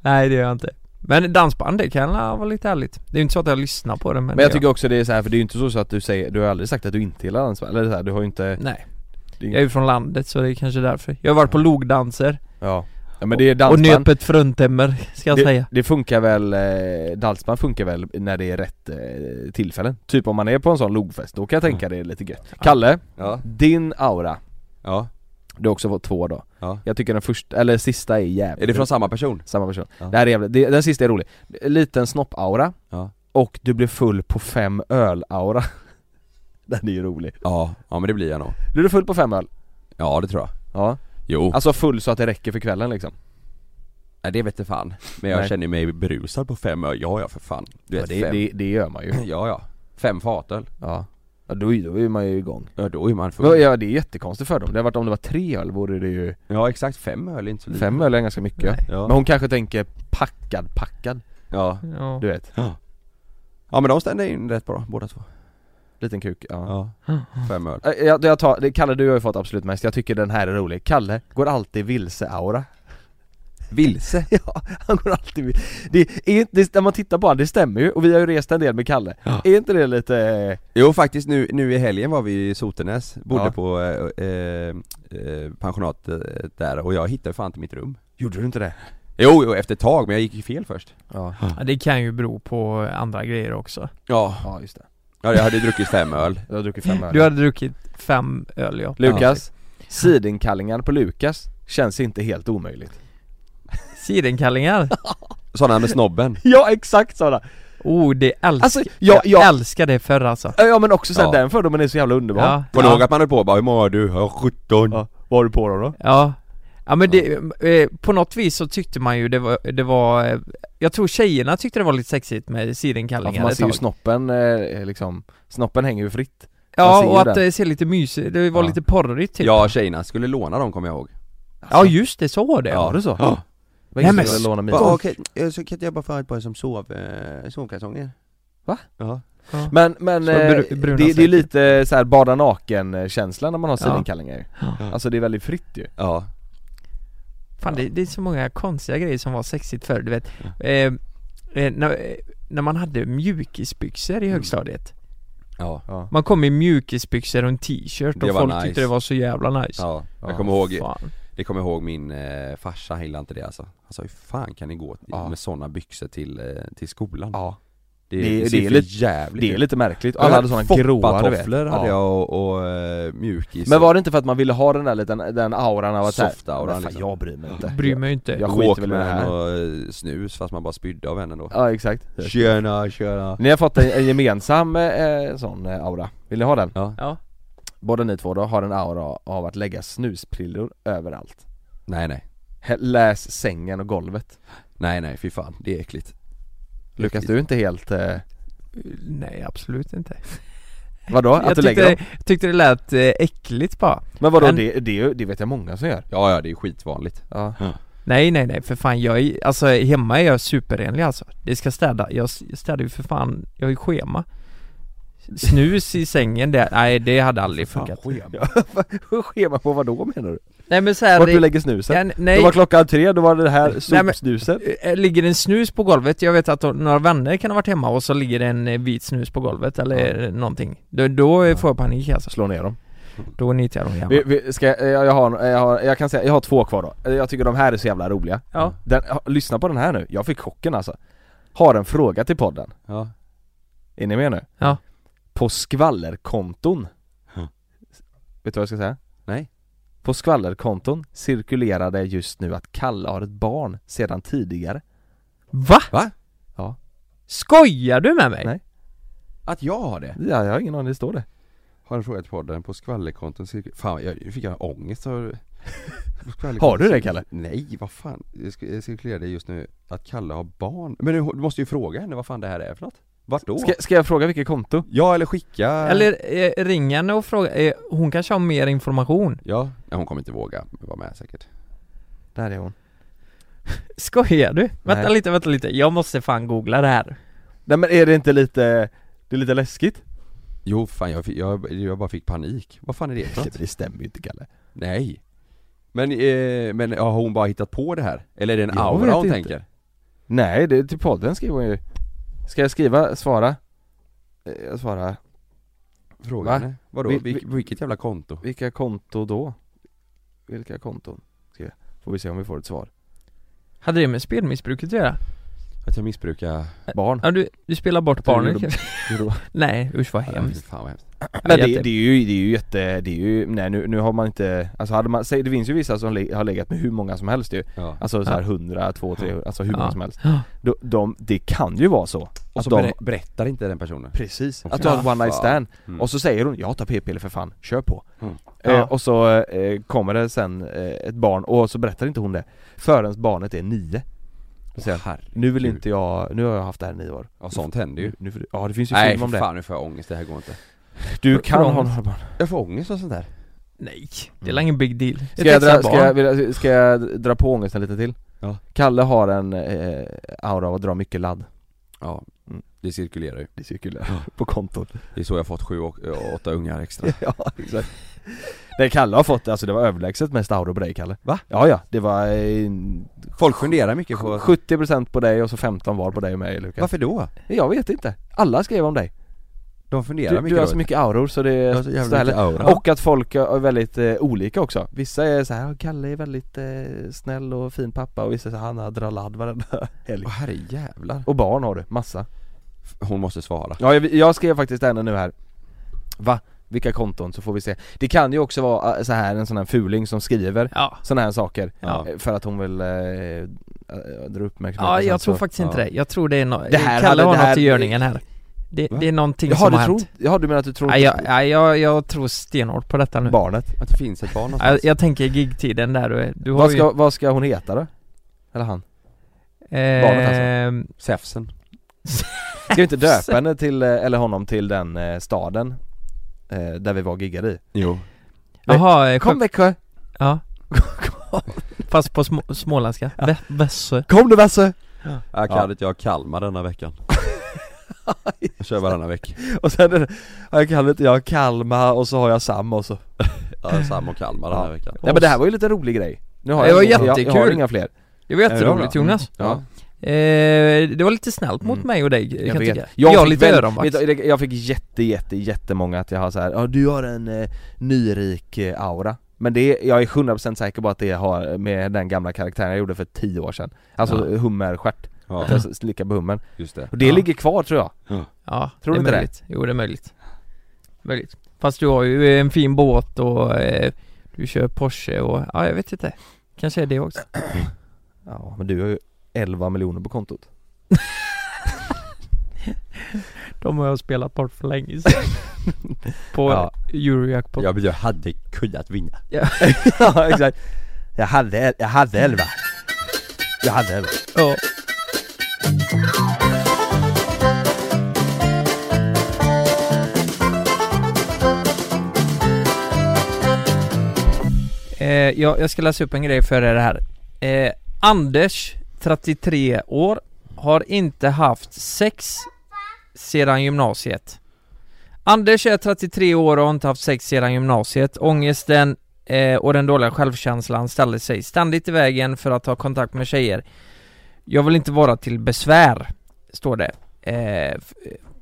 Nej det gör jag inte Men dansband det kan ja, vara lite härligt Det är ju inte så att jag lyssnar på det men, Men jag det tycker också det är så här för det är ju inte så, så att du säger, du har aldrig sagt att du inte gillar dans eller så här, du har ju inte, gör jag. Nej det är Jag är ju från landet så det är kanske därför Jag har varit på logdanser ja. ja men det är och dansband nöpet fruntimmer ska jag det, säga det funkar väl, eh, dansband funkar väl när det är rätt eh, tillfällen Typ om man är på en sån logfest, då kan jag Mm. tänka det är lite gött Kalle, Ja, din aura, ja, du har också fått två då ja Jag tycker den första, eller sista är jävligt Är det från samma person? samma person? Ja. Det här är jävligt, det, den sista är rolig Liten snopp-aura Ja. och du blir full på fem öl-aura (laughs) Den är ju rolig Ja, ja men det blir jag nog Blir du full på fem öl? Ja det tror jag Ja, Jo, alltså full så att det räcker för kvällen liksom nej, det vete fan Men jag Nej. känner mig berusad på fem öl, ja ja för fan Du ja, vet, det, fem, det, det gör man ju ja ja Fem fatöl, (clears throat) Ja, ja då, är- då är man ju igång ja då är man full Men, Ja det är jättekonstigt för dem, det har varit om det var tre öl vore det ju Ja exakt, fem öl är inte så lite Fem öl är ganska mycket Ja. Men hon kanske tänker packad, packad, Ja. ja. du vet ja men de stämde in rätt bra båda två Liten kuk, ja, Ja, fem öl Äh, Jag, jag tar, det- Kalle du har ju fått absolut mest, jag tycker den här är rolig Kalle går alltid vilse-aura Vilse? (laughs) Ja, han går alltid vilse Det är inte, det, när man tittar på honom, det stämmer ju och vi har ju rest en del med Kalle Är inte det lite, eh, Jo faktiskt nu, nu i helgen var vi i Sotenäs, bodde Ja. på eh, eh, eh, pensionatet där och jag hittade fan inte mitt rum gjorde du inte det? Jo, jo efter ett tag men jag gick ju fel först Ja, ja, det kan ju bero på andra grejer också Ja, ja just det ja jag hade ju druckit fem öl Jag har druckit fem öl Du hade druckit fem öl ja Lukas, sidenkallingar på Lukas känns inte helt omöjligt (laughs) Sidenkallingar, Sådana med snobben Ja exakt sådana! oh det älskar Alltså, ja, jag, ja, älskar det förr alltså ja men också sen Ja. den fördomen är så jävla underbar Ja, Kommer du ihåg ja, att man höll på och bara 'Hur många har du?' Ja, 17 Ja, vad har du på dem då? ja. ja men det, eh, på något vis så tyckte man ju det var, det var eh, Jag tror tjejerna tyckte det var lite sexigt med Ja, för sidenkallingar man ett ser ju tag. snoppen eh, liksom, snoppen hänger ju fritt man Ja ser ju och att den. det ser lite mysigt, det var Ja. lite porrigt typ Ja tjejerna skulle låna dem kommer jag ihåg Ja just det, så var det Ja. Var det så? (gasps) Ja. Vad är det Nej, som men- lånar mina? Ja, okej, eh, så kan inte jag bara få ett par som sov, eh, sovkalsonger? Va? Ja Men, men Så eh, bru- bruna det, det är säkert. lite så här bada naken känsla när man har Ja. sidenkallingar ju Ja. Alltså det är väldigt fritt ju Ja, Fan det, det är så många konstiga grejer som var sexigt förr, du vet eh, eh, när, eh, när man hade mjukisbyxor i Mm. högstadiet ja, Ja, Man kom i mjukisbyxor och en t-shirt Det och var folk nice. tyckte det var så jävla nice ja. Jag Ja, kommer ihåg, Fan. det kommer jag ihåg min eh, farsa, han gillade inte det alltså Han sa 'Hur fan kan ni gå Ja. med sådana byxor till, eh, till skolan?' ja. Det, Det- det, det ser är för lite- jävligt det är ut. lite märkligt, Jag alla hade såna gråa du vet foppatofflor hade Ja. jag och, och eh, mjukis Men var det inte för att man ville ha den där liten, den auran av att så här, Softauran, "Men fan, liksom." jag bryr mig inte Bryr mig ju inte Jag skiter väl i det Walkman här och eh, snus fast man bara spydde av henne då Ja exakt Tjena, tjena Ni har fått en, en gemensam eh, sån eh, aura, vill ni ha den? Ja, Ja, Båda ni två då har en aura av att lägga snusprillor överallt nej nej, Hä- Läs sängen och golvet nej nej fy fan, det är äckligt Lukas du är inte helt, eh, nej absolut inte vadå? Att Jag du lägger tyckte, dem? tyckte det lät eh, äckligt bara Men vadå, men- det, det, är ju- det vet jag många som gör Ja ja, det är skitvanligt Ja, Nej nej nej för fan jag är, alltså hemma är jag superrenlig alltså Det ska städa, jag s- städar ju för fan, jag har ju schema Snus i sängen det, nej det hade aldrig funkat (laughs) Schema på vad då menar du? Nej men såhär, Vart du det, lägger snusen? ja, Då nej, var klockan tre, då var det här Nej, men- sopsnuset eh, ligger det en snus på golvet, jag vet att då- några vänner kan ha varit hemma och så ligger det en eh, vit snus på golvet eller någonting Då, då eh, får jag panik alltså Slå ner dem Då nyttjar de Vi, hjärnan. vi, ska, jag, jag, har, jag, har, jag kan säga, jag har två kvar då. Jag tycker de här är så jävla roliga. Ja. Den, ha- lyssna på den här nu, jag fick chocken alltså. Har en fråga till podden. Ja. Är ni med nu? Ja. På skvallerkonton. Hm. Huh. Vet du vad jag ska säga? Nej. På skvallerkonton cirkulerar det just nu att Kalle har ett barn sedan tidigare. Va? Va? Ja. Skojar du med mig? Nej. Att jag har det? Ja, jag har ingen aning, det står det. Har en fråga till podden på skvallerkonton cirka... Fan, jag nu fick jag ångest (laughs) av... på skvallerkonton- Har du det, Kalle? Nej, vad fan. Det sk- det cirkulerade just nu att Kalle har barn. Men du, du måste ju fråga henne vad fan det här är för något. Vart då? Ska, ska jag fråga vilket konto? Ja, eller skicka... Eller eh, ring henne och fråga, eh, hon kanske har mer information? Ja, Nej, hon kommer inte våga vara med säkert. Där är hon. Skojar du? Vänta Nej. lite, vänta lite, jag måste fan googla det här Nej men är det inte lite, det är lite läskigt? Jo, fan jag, fick, jag, jag bara fick panik. Vad fan är det för något? (laughs) det stämmer ju inte Kalle. Nej. Men, eh, men ja, har hon bara hittat på det här? Eller är det en Jag aura vet hon inte. tänker? Nej, det, till podden skriver hon ju Ska jag skriva, svara? Eh, Jag svarar, Fråga Va? henne. Vadå? Vi- Vilk- vilket jävla konto? vilka konto då? Vilka konton? Skriver jag. Får vi se om vi får ett svar Hade det med spelmissbruket att göra? Att jag missbrukar... Barn? Ja du, du spelar bort barnet kanske? gjorde- (laughs) Nej, usch vad hemskt Fan vad hemskt. Men det, Jätte- det är ju, det är ju jätte, det är ju, nej nu, nu har man inte, alltså hade man, säg, det finns ju vissa som le, har legat med hur många som helst ju Ja. Alltså såhär Ja. 100, 200, 300, alltså hur Ja. många som helst Ja. de, de, det kan ju vara så Och att så de, Alltså, berä- berättar inte den personen. precis, Och så- att du har en one night Fan. stand Mm. Och så säger hon 'Jag hatar p-piller för fan, kör på' Mm. eh, Ja. Och så eh, kommer det sen eh, ett barn och så berättar inte hon det förrän barnet är nio Då säger han, Nu vill inte jag, nu har jag haft det här i nio år Ja, sånt händer ju. nu, nu, får du- Ja det finns ju Mm. Nej film för om det fan nu får jag ångest, det här går inte. Du För- kan för ha ångest. några barn Jag får ångest av sånt där. Nej, det är väl ingen big deal Mm. ska jag, dra, textar ska, barn. jag, vill- ska jag dra på ångesten lite till? Ja. Kalle har en eh, aura av att dra mycket ladd Ja. Mm. Det cirkulerar ju. Det är cirkulär (laughs) (laughs) på kontot Det är så jag har fått sju och och åtta ungar extra. Ja exakt Det Kalle har fått, alltså det var överlägset mest auror på dig Kalle Va? Ja ja, det var eh, Folk funderar mycket på... 70% på dig och så 15 var på dig och mig Lukas Varför då? Jag vet inte, alla skrev om dig De funderar Du, mycket du har då. så mycket auror så det Jag är har så jävla så härligt. mycket aura. Och att folk är väldigt eh, olika också Vissa är så här, "Ja, Kalle är väldigt eh, snäll och fin pappa och vissa är så här, han drar ladd varenda (laughs) helg Åh herrejävlar. Och barn har du, massa Hon måste svara. Ja jag, jag skrev faktiskt henne nu här Va? Vilka konton? Så får vi se Det kan ju också vara eh, så här en sån här fuling som skriver Ja, sådana här saker Ja. eh, för att hon vill eh, eh, dra uppmärksamhet ja och jag sånt, tror så- faktiskt inte ja. det, jag tror det är no- Det här Kalle hade- har det här- något i görningen här Det, Va? det är någonting Jaha, som du har hänt tror, jaha du menar att du tror Nej, jag, nej, jag, jag tror stenhårt på detta nu barnet? Att det finns ett barn jag, någonstans. jag tänker gigtiden där, du, du har Vad ju ska, vad ska hon heta då? Eller han? eh, barnet alltså? Säfsen. Ska (laughs) vi inte döpa henne till, eh, eller honom till den eh, staden eh, där vi var och giggade i? Jo. Jaha, eh, Kom Växjö! Ja (laughs) Fast på små, småländska, Vä- Vässö Kom du Basse! Jag Ja. kallade jag Kalmar denna (laughs) veckan. Jag kör varannan vecka. Och sen är det, jag kallar inte, jag har Kalmar och så har jag Sam och så Ja, Sam och Kalmar den här veckan. Nej men det här var ju lite rolig grej Nu har Det var jag, inga- jag, jag har jättekul. inga fler Det var jätteroligt det var bra. Jonas Ja. eh, Det var lite snällt mot Mm. mig och dig Jag kan vet. tycka Jag, Jag, har fick lite väl- öronvax vet du, Jag fick jätte, jätte, jättemånga att jag har så här. ja du har en eh, nyrik eh, aura Men det, är- jag är 100% säker på att det har med den gamla karaktären jag gjorde för 10 år sedan Alltså Ja. hummerstjärt, Ja, att jag slickar på hummern just det. Och det Ja. ligger kvar tror jag Ja, Tror det är du inte det? möjligt Jo det är möjligt Möjligt Fast du har ju eh, en fin båt och eh, du kör Porsche och, ja jag vet inte Kanske är det också Ja men du har ju 11 miljoner på kontot De har jag spelat bort för (laughs) länge sedan På Ja. Eurojackpot Jag, jag hade kunnat vinna. Ja exakt (laughs) Jag hade, jag hade 11 Jag hade 11 Ja. Eh, jag, jag ska läsa upp en grej för er här. Eh, Anders, 33 år, har inte haft sex sedan gymnasiet. Anders är 33 år och har inte haft sex sedan gymnasiet. Ångesten eh, och den dåliga självkänslan ställer sig ständigt i vägen för att ta kontakt med tjejer. Jag vill inte vara till besvär, står det. Eh, f-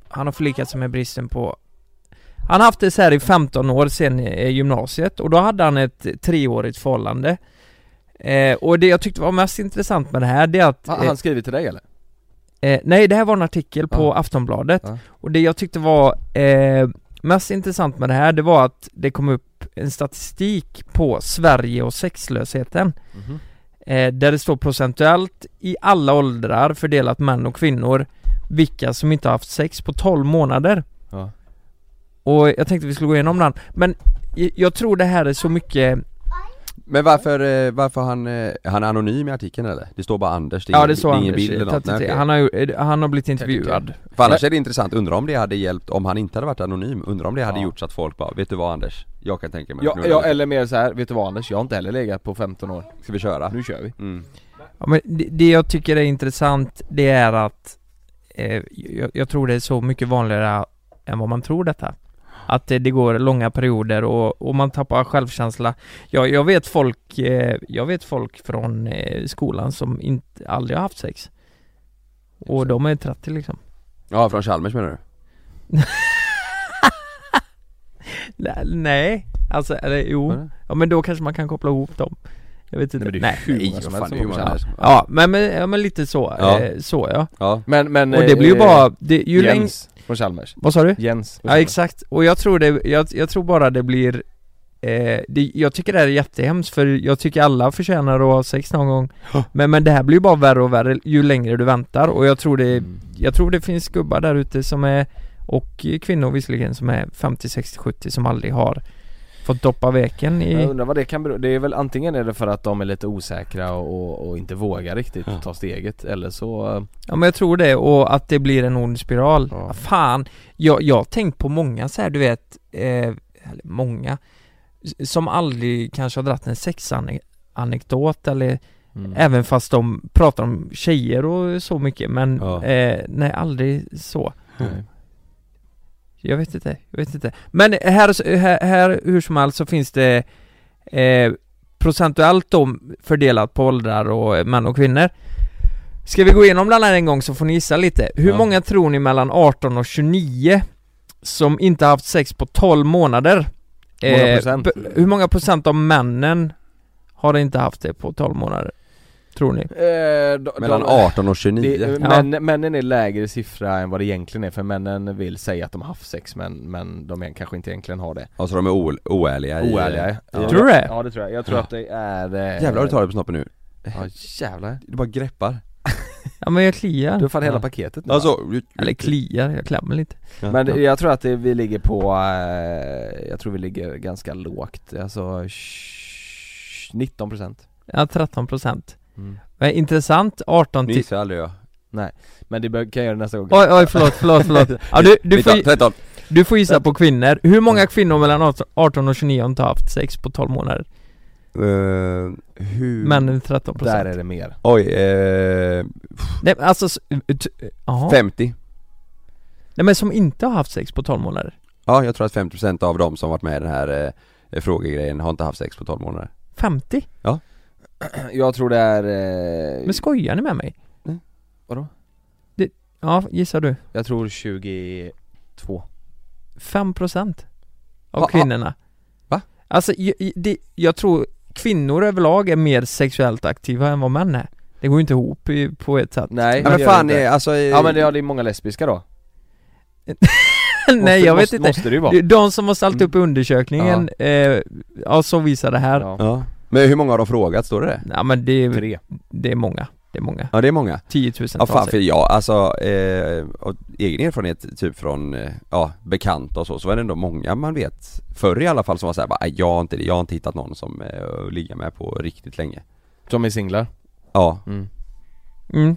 han har förlikat sig med bristen på Han har haft det så här i 15 år sedan eh, gymnasiet och då hade han ett treårigt förhållande. Eh, och det jag tyckte var mest intressant med det här det är att... Har han skrivit till dig eller? Eh, nej, det här var en artikel på Aftonbladet Ja. och det jag tyckte var eh, mest intressant med det här det var att det kom upp en statistik på Sverige och sexlösheten. Mhm. Eh, där det står procentuellt i alla åldrar fördelat män och kvinnor vilka som inte har haft sex på 12 månader. Ja. Och jag tänkte vi skulle gå igenom den, men j- jag tror det här är så mycket Men varför, eh, varför han, eh, han är anonym i artikeln eller? Det står bara Anders, det är, Ja ingen- det står är ingen Anders, bild eller något? 33. Nej, okej. han, har, ju- eh, han har blivit intervjuad För annars är det intressant, undrar om det hade hjälpt om han inte hade varit anonym, undrar om det hade Ja. gjort så att folk bara, vet du vad Anders? Jag kan tänka mig att Ja, knulla ja, dig. eller mer så här, vet du vad Anders? Jag har inte heller legat på 15 år. Ska vi köra? Nu kör vi. Mm. Ja, men det, det jag tycker är intressant det är att eh, jag, jag tror det är så mycket vanligare än vad man tror detta. Att det, det går långa perioder och, och man tappar självkänsla. Jag, jag vet folk, eh, jag vet folk från eh, skolan som inte, aldrig har haft sex. Och de är 30 liksom. Ja, från Chalmers menar du? Nej, Nej, alltså eller jo. Ja men då kanske man kan koppla ihop dem. Jag vet inte. Nej, men det Nej, är hur många Nej, som fan, helst som det är går ju så många här. som- Ja men, men, ja, men lite så, Ja. eh, så ja. Ja, Men, men... Och det eh, blir ju eh, bara, det, ju längre, Jens från Chalmers. vad sa du? Jens från Ja Chalmers. exakt, och jag tror det, jag, jag tror bara det blir eh, det, Jag tycker det här är jättehemskt för jag tycker alla förtjänar att ha sex någon gång men, men det här blir ju bara värre och värre ju längre du väntar och jag tror det, jag tror det finns gubbar där ute som är Och kvinnor visserligen som är 50, 60, 70 som aldrig har fått doppa veken Jag i undrar vad det kan bero Det är väl antingen är det för att de är lite osäkra och, och, och inte vågar riktigt ta steget eller så... eh, Ja men jag tror det och att det blir en ond spiral. Ja. Fan, jag, jag har tänkt på många så här, du vet, eh, eller många s- som aldrig kanske har dratt en sexanekdot eller Mm. även fast de pratar om tjejer och så mycket men Ja. eh, nej aldrig så. Nej. Jag vet inte, jag vet inte. Men här, här, här hur som helst så finns det eh, procentuellt då fördelat på åldrar och eh, män och kvinnor. Ska vi gå igenom den här en gång så får ni gissa lite. Hur Ja. många tror ni mellan 18 och 29 som inte haft sex på 12 månader? Hur många procent? b- hur många procent av männen har inte haft det på 12 månader? Tror ni? Eh, de- Mellan de- 18 och 29 det, Ja. män, Männen är lägre siffra än vad det egentligen är för männen vill säga att de har haft sex men, men de är, kanske inte egentligen har det Alltså de är o- oärliga i... Oärliga ja. Tror du det? Ja det tror jag, jag tror att det är... Eh, Jävlar vad du tar det på snoppen nu, Ja jävlar du bara greppar Ja men jag Du har kliar. fan hela Ja. paketet nu va? Alltså, Eller kliar, jag klämmer lite. Men Ja. jag tror att det, vi ligger på, eh, jag tror vi ligger ganska lågt, alltså sh- 19% Ja 13 procent. Mm. Men intressant, 18 nu till... gissar aldrig jag Men det bör, kan jag göra nästa gång Oj, oj, förlåt, förlåt, (laughs) förlåt. Ja, du, du, får, 19, 13, du får gissa på kvinnor. Hur många kvinnor mellan 18 18 och 29 har inte haft sex på 12 månader? Eh, hur... Männen 13 Mm. Där procent. är det mer (clears throat) Oj, eh, Nej, men alltså... s- ut- Jaha. 50 Nej, men som inte har haft sex på 12 månader. Ja, jag tror att 50% av de som varit med i den här eh, frågegrejen har inte haft sex på 12 månader 50? Jag tror det är, eh, Men skojar ni med mig? Nej. Vadå? Det, ja, gissar du? jag tror 22 5 procent av Va- ah. kvinnorna. Va? Alltså, jag, det, jag tror kvinnor överlag är mer sexuellt aktiva än vad män är. Det går ju inte ihop i, på ett sätt. (laughs) Nej, Ja, det men gör fan, det inte. eh, alltså... eh, Ja men det, ja, det är många lesbiska då Nej, Måste- jag vet måste, inte. Måste det ju vara Det är De som har ställt upp i undersökningen, ja. Eh, ja så visar det här. Ja, ja. Mm. Ja. Men hur många har de frågat, står det det? men det är, Tre det är många, det är många. Ja det är många 10 000 Ja fan för jag, alltså, eh, av egen erfarenhet typ från, eh, ja, bekanta och så, så var det ändå många man vet Förr i alla fall som var såhär bara, "Aj, jag har inte, jag har inte hittat någon som eh, ligger med på riktigt länge Som är singlar Ja, mm. mm.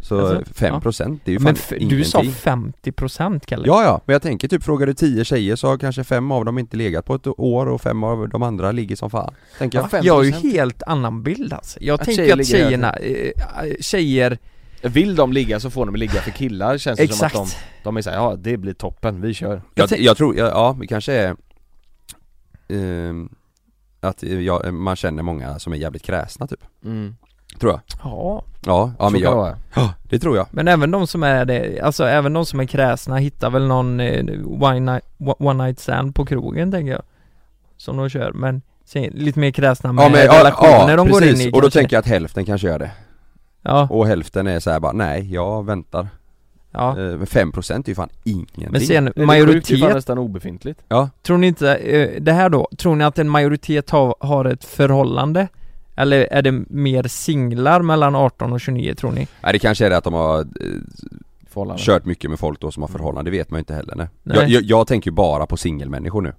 så Alltså, 5% det är ju fan Men f- ingenting. du sa 50 procent Kalle? Ja ja, men jag tänker typ frågar du 10 tjejer så har kanske fem av dem inte legat på ett år och fem av de andra ligger som fan Tänker jag Va? Jag har ju helt annan bild alltså. Jag Att tänker tjejer att ligger tjejerna, eh, tjejer, Vill de ligga så får de ligga för killar känns det exakt. som att de, de är såhär, ja det blir toppen, vi kör Jag, jag tror, ja, ja det kanske är Mm. ehm, Att jag, man känner många som är jävligt kräsna typ tror jag Ja Ja, ja men kan det jag, vara. ja, det tror jag Men även de som är det, alltså även de som är kräsna hittar väl någon eh, one, night, one night stand på krogen tänker jag Som de kör, men sen, lite mer kräsna med Ja men, ja, relationer ja de går in i precis, och då kanske. tänker jag att hälften kanske gör det Ja, Och hälften är så här bara, nej jag väntar ja Eh, Men 5% är ju fan ingenting Men sen Det är sjukt, det är fan majoritet, nästan obefintligt tror ni inte, eh, det här då, tror ni att en majoritet har, har ett förhållande? Eller är det mer singlar mellan 18 och 29 tror ni? Nej det kanske är det att de har eh, förhållande kört mycket med folk då som har förhållande, det vet man ju inte heller nej. Nej. Jag, jag, jag tänker ju bara på singelmänniskor nu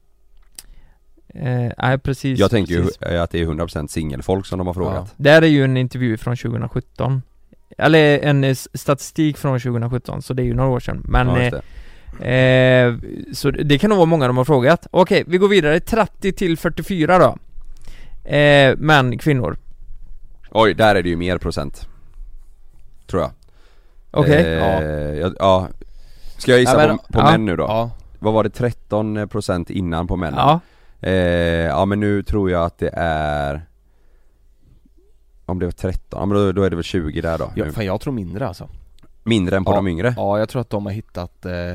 Eh, nej precis Jag tänker precis. ju eh, att det är 100% singelfolk som de har frågat Där är ju en intervju från 2017 Eller en eh, s- statistik från 2017 så det är ju några år sedan men Ja, eh, just det. Eh, så det kan nog vara många de har frågat. Okej, vi går vidare. 30 till 44 då. Eh, män, kvinnor. Oj, där är det ju mer procent Tror jag Okej. eh, ja. ja Ska jag gissa Ja, men- på, på ja. män nu då? Ja, Vad var det 13% innan på männen? Ja. Eh, ja men nu tror jag att det är Om det var 13, ja, men då, då är det väl 20 där då jag, fan jag tror mindre alltså Mindre än på Ja. de yngre ja. Ja jag tror att de har hittat eh,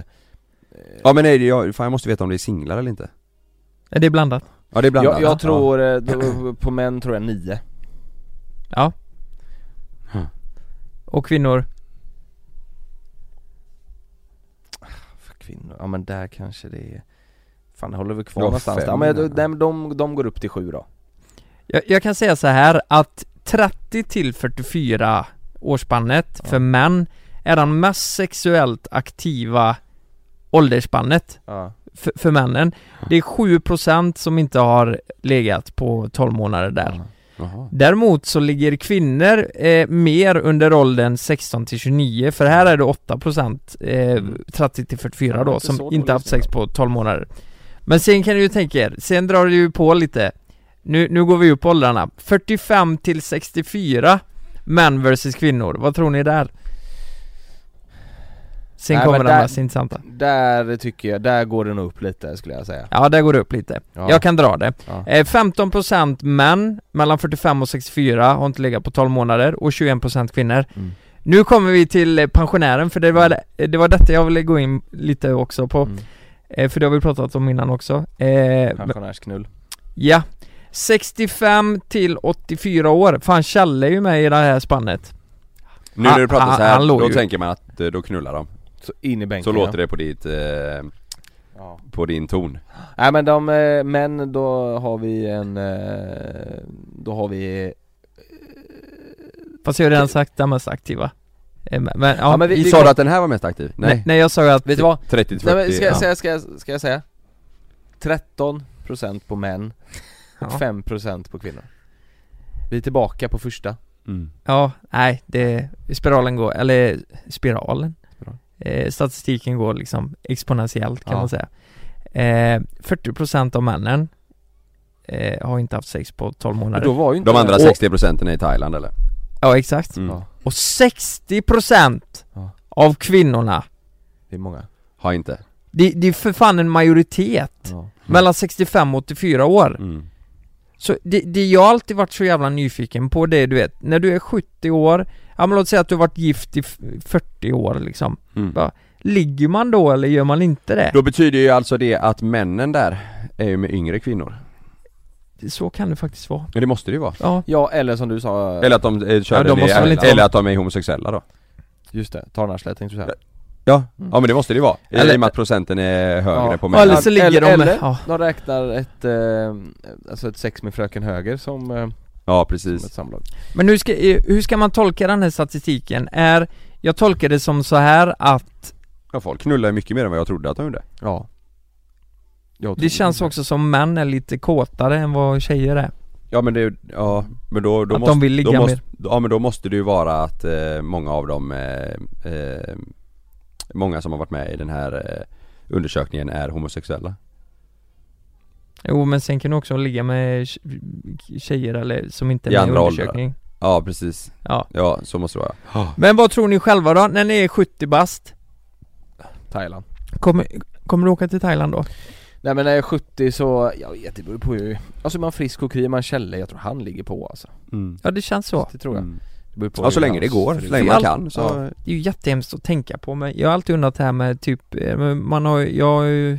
men nej, det- jag, fan jag måste veta om det är singlar eller inte Är det blandat? Ja det är blandat Jag, jag tror, eh, då- på män tror jag nio Ja. Hmm. Och kvinnor? För kvinnor, ja men där kanske det är Fan det håller vi kvar Ja, någonstans fem, där. ja, men, ja. de, de, de, de går upp till sju då Jag, jag kan säga så här att 30 till 44 årsspannet för män är den mest sexuellt aktiva åldersspannet Ja, för, för männen. Det är 7% som inte har legat på 12 månader där. Jaha. Däremot så ligger kvinnor eh, mer under åldern 16 till 29 för här är det 8% eh, 30 till 44 Mm. Ja, då inte så som dåligt inte haft sex ändå. på 12 månader. Men sen kan du ju tänka er, sen drar det ju på lite. Nu, nu går vi upp på åldrarna. 45 till 64 män versus kvinnor. Vad tror ni där? Sen Nej, kommer men den där- mest intressanta. Där tycker jag, där går det nog upp lite skulle jag säga Ja, där går det upp lite. Ja. Jag kan dra det. Ja. Eh, 15% män mellan 45 och 64 har inte legat på 12 månader och 21% kvinnor. Mm. Nu kommer vi till eh, pensionären för det var, eh, det var detta jag ville gå in lite också på. Mm. Eh, för det har vi pratat om innan också. Eh, men- Pensionärsknull ja. 65 till 84 år. Fan Challe är ju med i det här spannet. Nu när du pratar Ah, så ah, han här, låg då ju. tänker man att eh, då knullar de Så in i bänken Så låter ja. det på ditt, eh, Ja. på din ton Nej men de, eh, män då har vi en, eh, då har vi Fast jag har redan sagt den mest aktiva. Eh, men, men, ja, Ja, men vi- vi- Sa du att den här var mest aktiv? nej. Nej, nej jag sa ju att... Vet du vad? 30 till Nej men 40 ska jag ja. säga, ska jag, ska jag säga? 13% på män och Ja. 5% på kvinnor Vi är tillbaka på första mm. Ja, nej, det, spiralen går, eller spiralen Spiral. eh, Statistiken går liksom exponentiellt kan Ja. man säga eh, 40% av männen eh, har inte haft sex på 12 månader Då var ju inte De andra Och- 60 procenten är i Thailand eller? Ja, exakt Mm. Ja. Och 60% Ja. av kvinnorna Det är många Har inte? det, det är för fan en majoritet ja. Mellan 65 och 84 år Mm. Så det, det jag alltid varit så jävla nyfiken på det är, du vet, när du är 70 år Ja men låt säga att du har varit gift i f- 40 år liksom Mm. Ja. Ligger man då eller gör man inte det? Då betyder ju alltså det att männen där är ju med yngre kvinnor Så kan det faktiskt vara. Ja det måste det ju vara Ja. ja eller som du sa, Eller att de eh, kör Ja, de en- måste väl inte- eller att de är homosexuella då just det, tarnarslet tänkte du säga Ja, ja men det måste det ju vara I- Eller- I och med att procenten är högre Ja. på Ja, männen eller så ligger eller, de... eller ja. de räknar ett, eh, alltså ett sex med fröken höger som, eh, Ja som ett precis samlag Men hur ska, eh, hur ska man tolka den här statistiken? Är, jag tolkar det som så här att Ja folk knullar ju mycket mer än vad jag trodde att de gjorde Ja Jag tror- det känns också som män är lite kåtare än vad tjejer är. Ja men det, ja men då, då Att de måste, vill ligga då mer. måste, Ja men då måste det ju vara att eh, många av dem eh, eh, Många som har varit med i den här eh, undersökningen är homosexuella Jo men sen kan du också ligga med tj- tjejer eller som inte är I med i andra åldrar. undersökning. Ja precis, Ja. ja så måste det vara Men vad tror ni själva då, när ni är 70 bast? Thailand Kommer, kommer du åka till Thailand då? Nej men när jag är 70 så, jag vet det beror på hur Alltså är man frisk och kry, är man Kjelle, jag tror han ligger på alltså mm. Ja det känns så. Det tror jag Mm. beror på Ja, så hur länge det hans- går, för så länge man allt- kan så ja, det är ju jättehemskt att tänka på men jag har alltid undrat det här med typ, eh, men man har ju- jag har ju-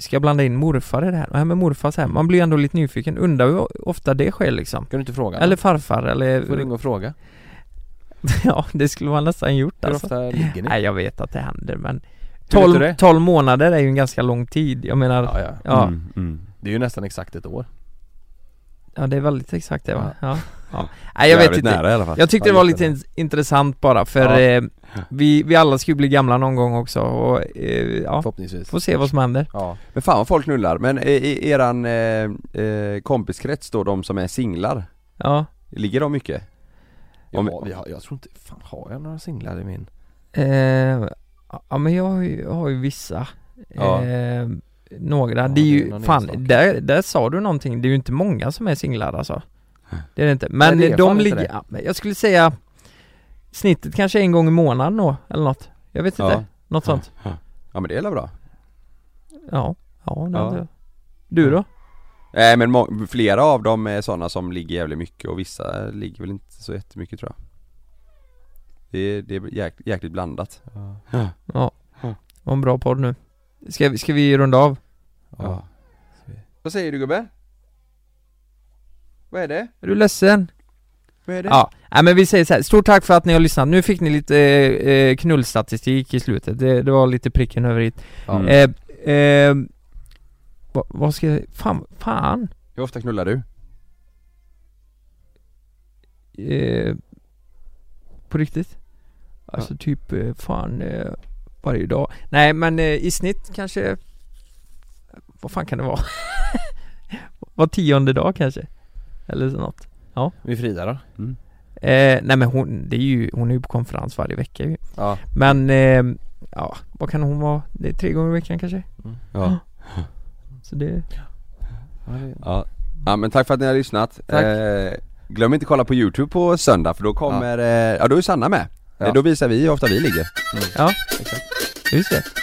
Ska jag blanda in morfar i det här? Nej men morfar så här, man blir ju ändå lite nyfiken, undrar hur ofta det sker liksom Kan du inte fråga? Eller farfar eller... Får ringa och fråga. (laughs) Ja det skulle man nästan gjort Hur alltså ofta ligger ni? Nej jag vet att det händer men Hur vet du 12, det? 12 månader är ju en ganska lång tid, jag menar Ja, Ja, ja. ja, Mm, mm. Det är ju nästan exakt ett år. det är väldigt exakt det va? Ja, (laughs) Ja. Nej jag vet Jävligt inte nära i alla fall Jag tyckte det Ja, var just lite in- intressant bara för Ja. eh, vi, vi alla ska ju bli gamla någon gång också och eh, ja, Förhoppningsvis. får se vad som händer Ja. Men fan vad folk knullar, men i, i eran eh, eh, kompiskrets då, de som är singlar, Ja, ligger de mycket? Ja, Om- vi har, jag tror inte, fan har jag några singlar i min? eh, ja men jag har ju, jag har ju vissa Ja. eh, Några, Ja, det är det är ju, någon fan, enstaka. där, där sa du någonting, det är ju inte många som är singlar alltså Det är det inte, men Nej, det är fan de inte ligger, det. ja, men jag skulle säga Snittet kanske en gång i månaden då, eller något Jag vet inte, Ja. något sånt ja men det är väl bra? Ja, ja, det Ja. hade jag. Du då? Nej men må- flera av dem är sådana som ligger jävligt mycket och vissa ligger väl inte så jättemycket tror jag Det är, det är jäk- jäkligt blandat Ja, Ja. var en bra podd nu Ska, vi- ska vi runda av? Ja. Vad säger du gubbe? Vad är det? Är du ledsen? Vad är det? Ja, nej men vi säger så här. stort tack för att ni har lyssnat. Nu fick ni lite eh, eh, knullstatistik i slutet, det, det var lite pricken över hit. Ja. Mm. Eh, eh, vad, vad ska jag, fan, fan. Hur ofta knullar du? Eh, på riktigt? Alltså typ, eh, fan, eh, varje dag. Nej men eh, i snitt kanske, vad fan kan det vara? (laughs) var tionde dag kanske? Eller så något. Vi Frida då? Eh, nej men hon, det är ju, hon är ju på konferens varje vecka ju. Ja. Men, eh, ja, vad kan hon vara? Det är tre gånger i veckan kanske? Ja. Så det... ja Ja men tack för att ni har lyssnat Tack. Eh, Glöm inte kolla på youtube på söndag för då kommer, ja, eh, ja då är Sanna med Ja. Då visar vi hur ofta vi ligger Ja, just det.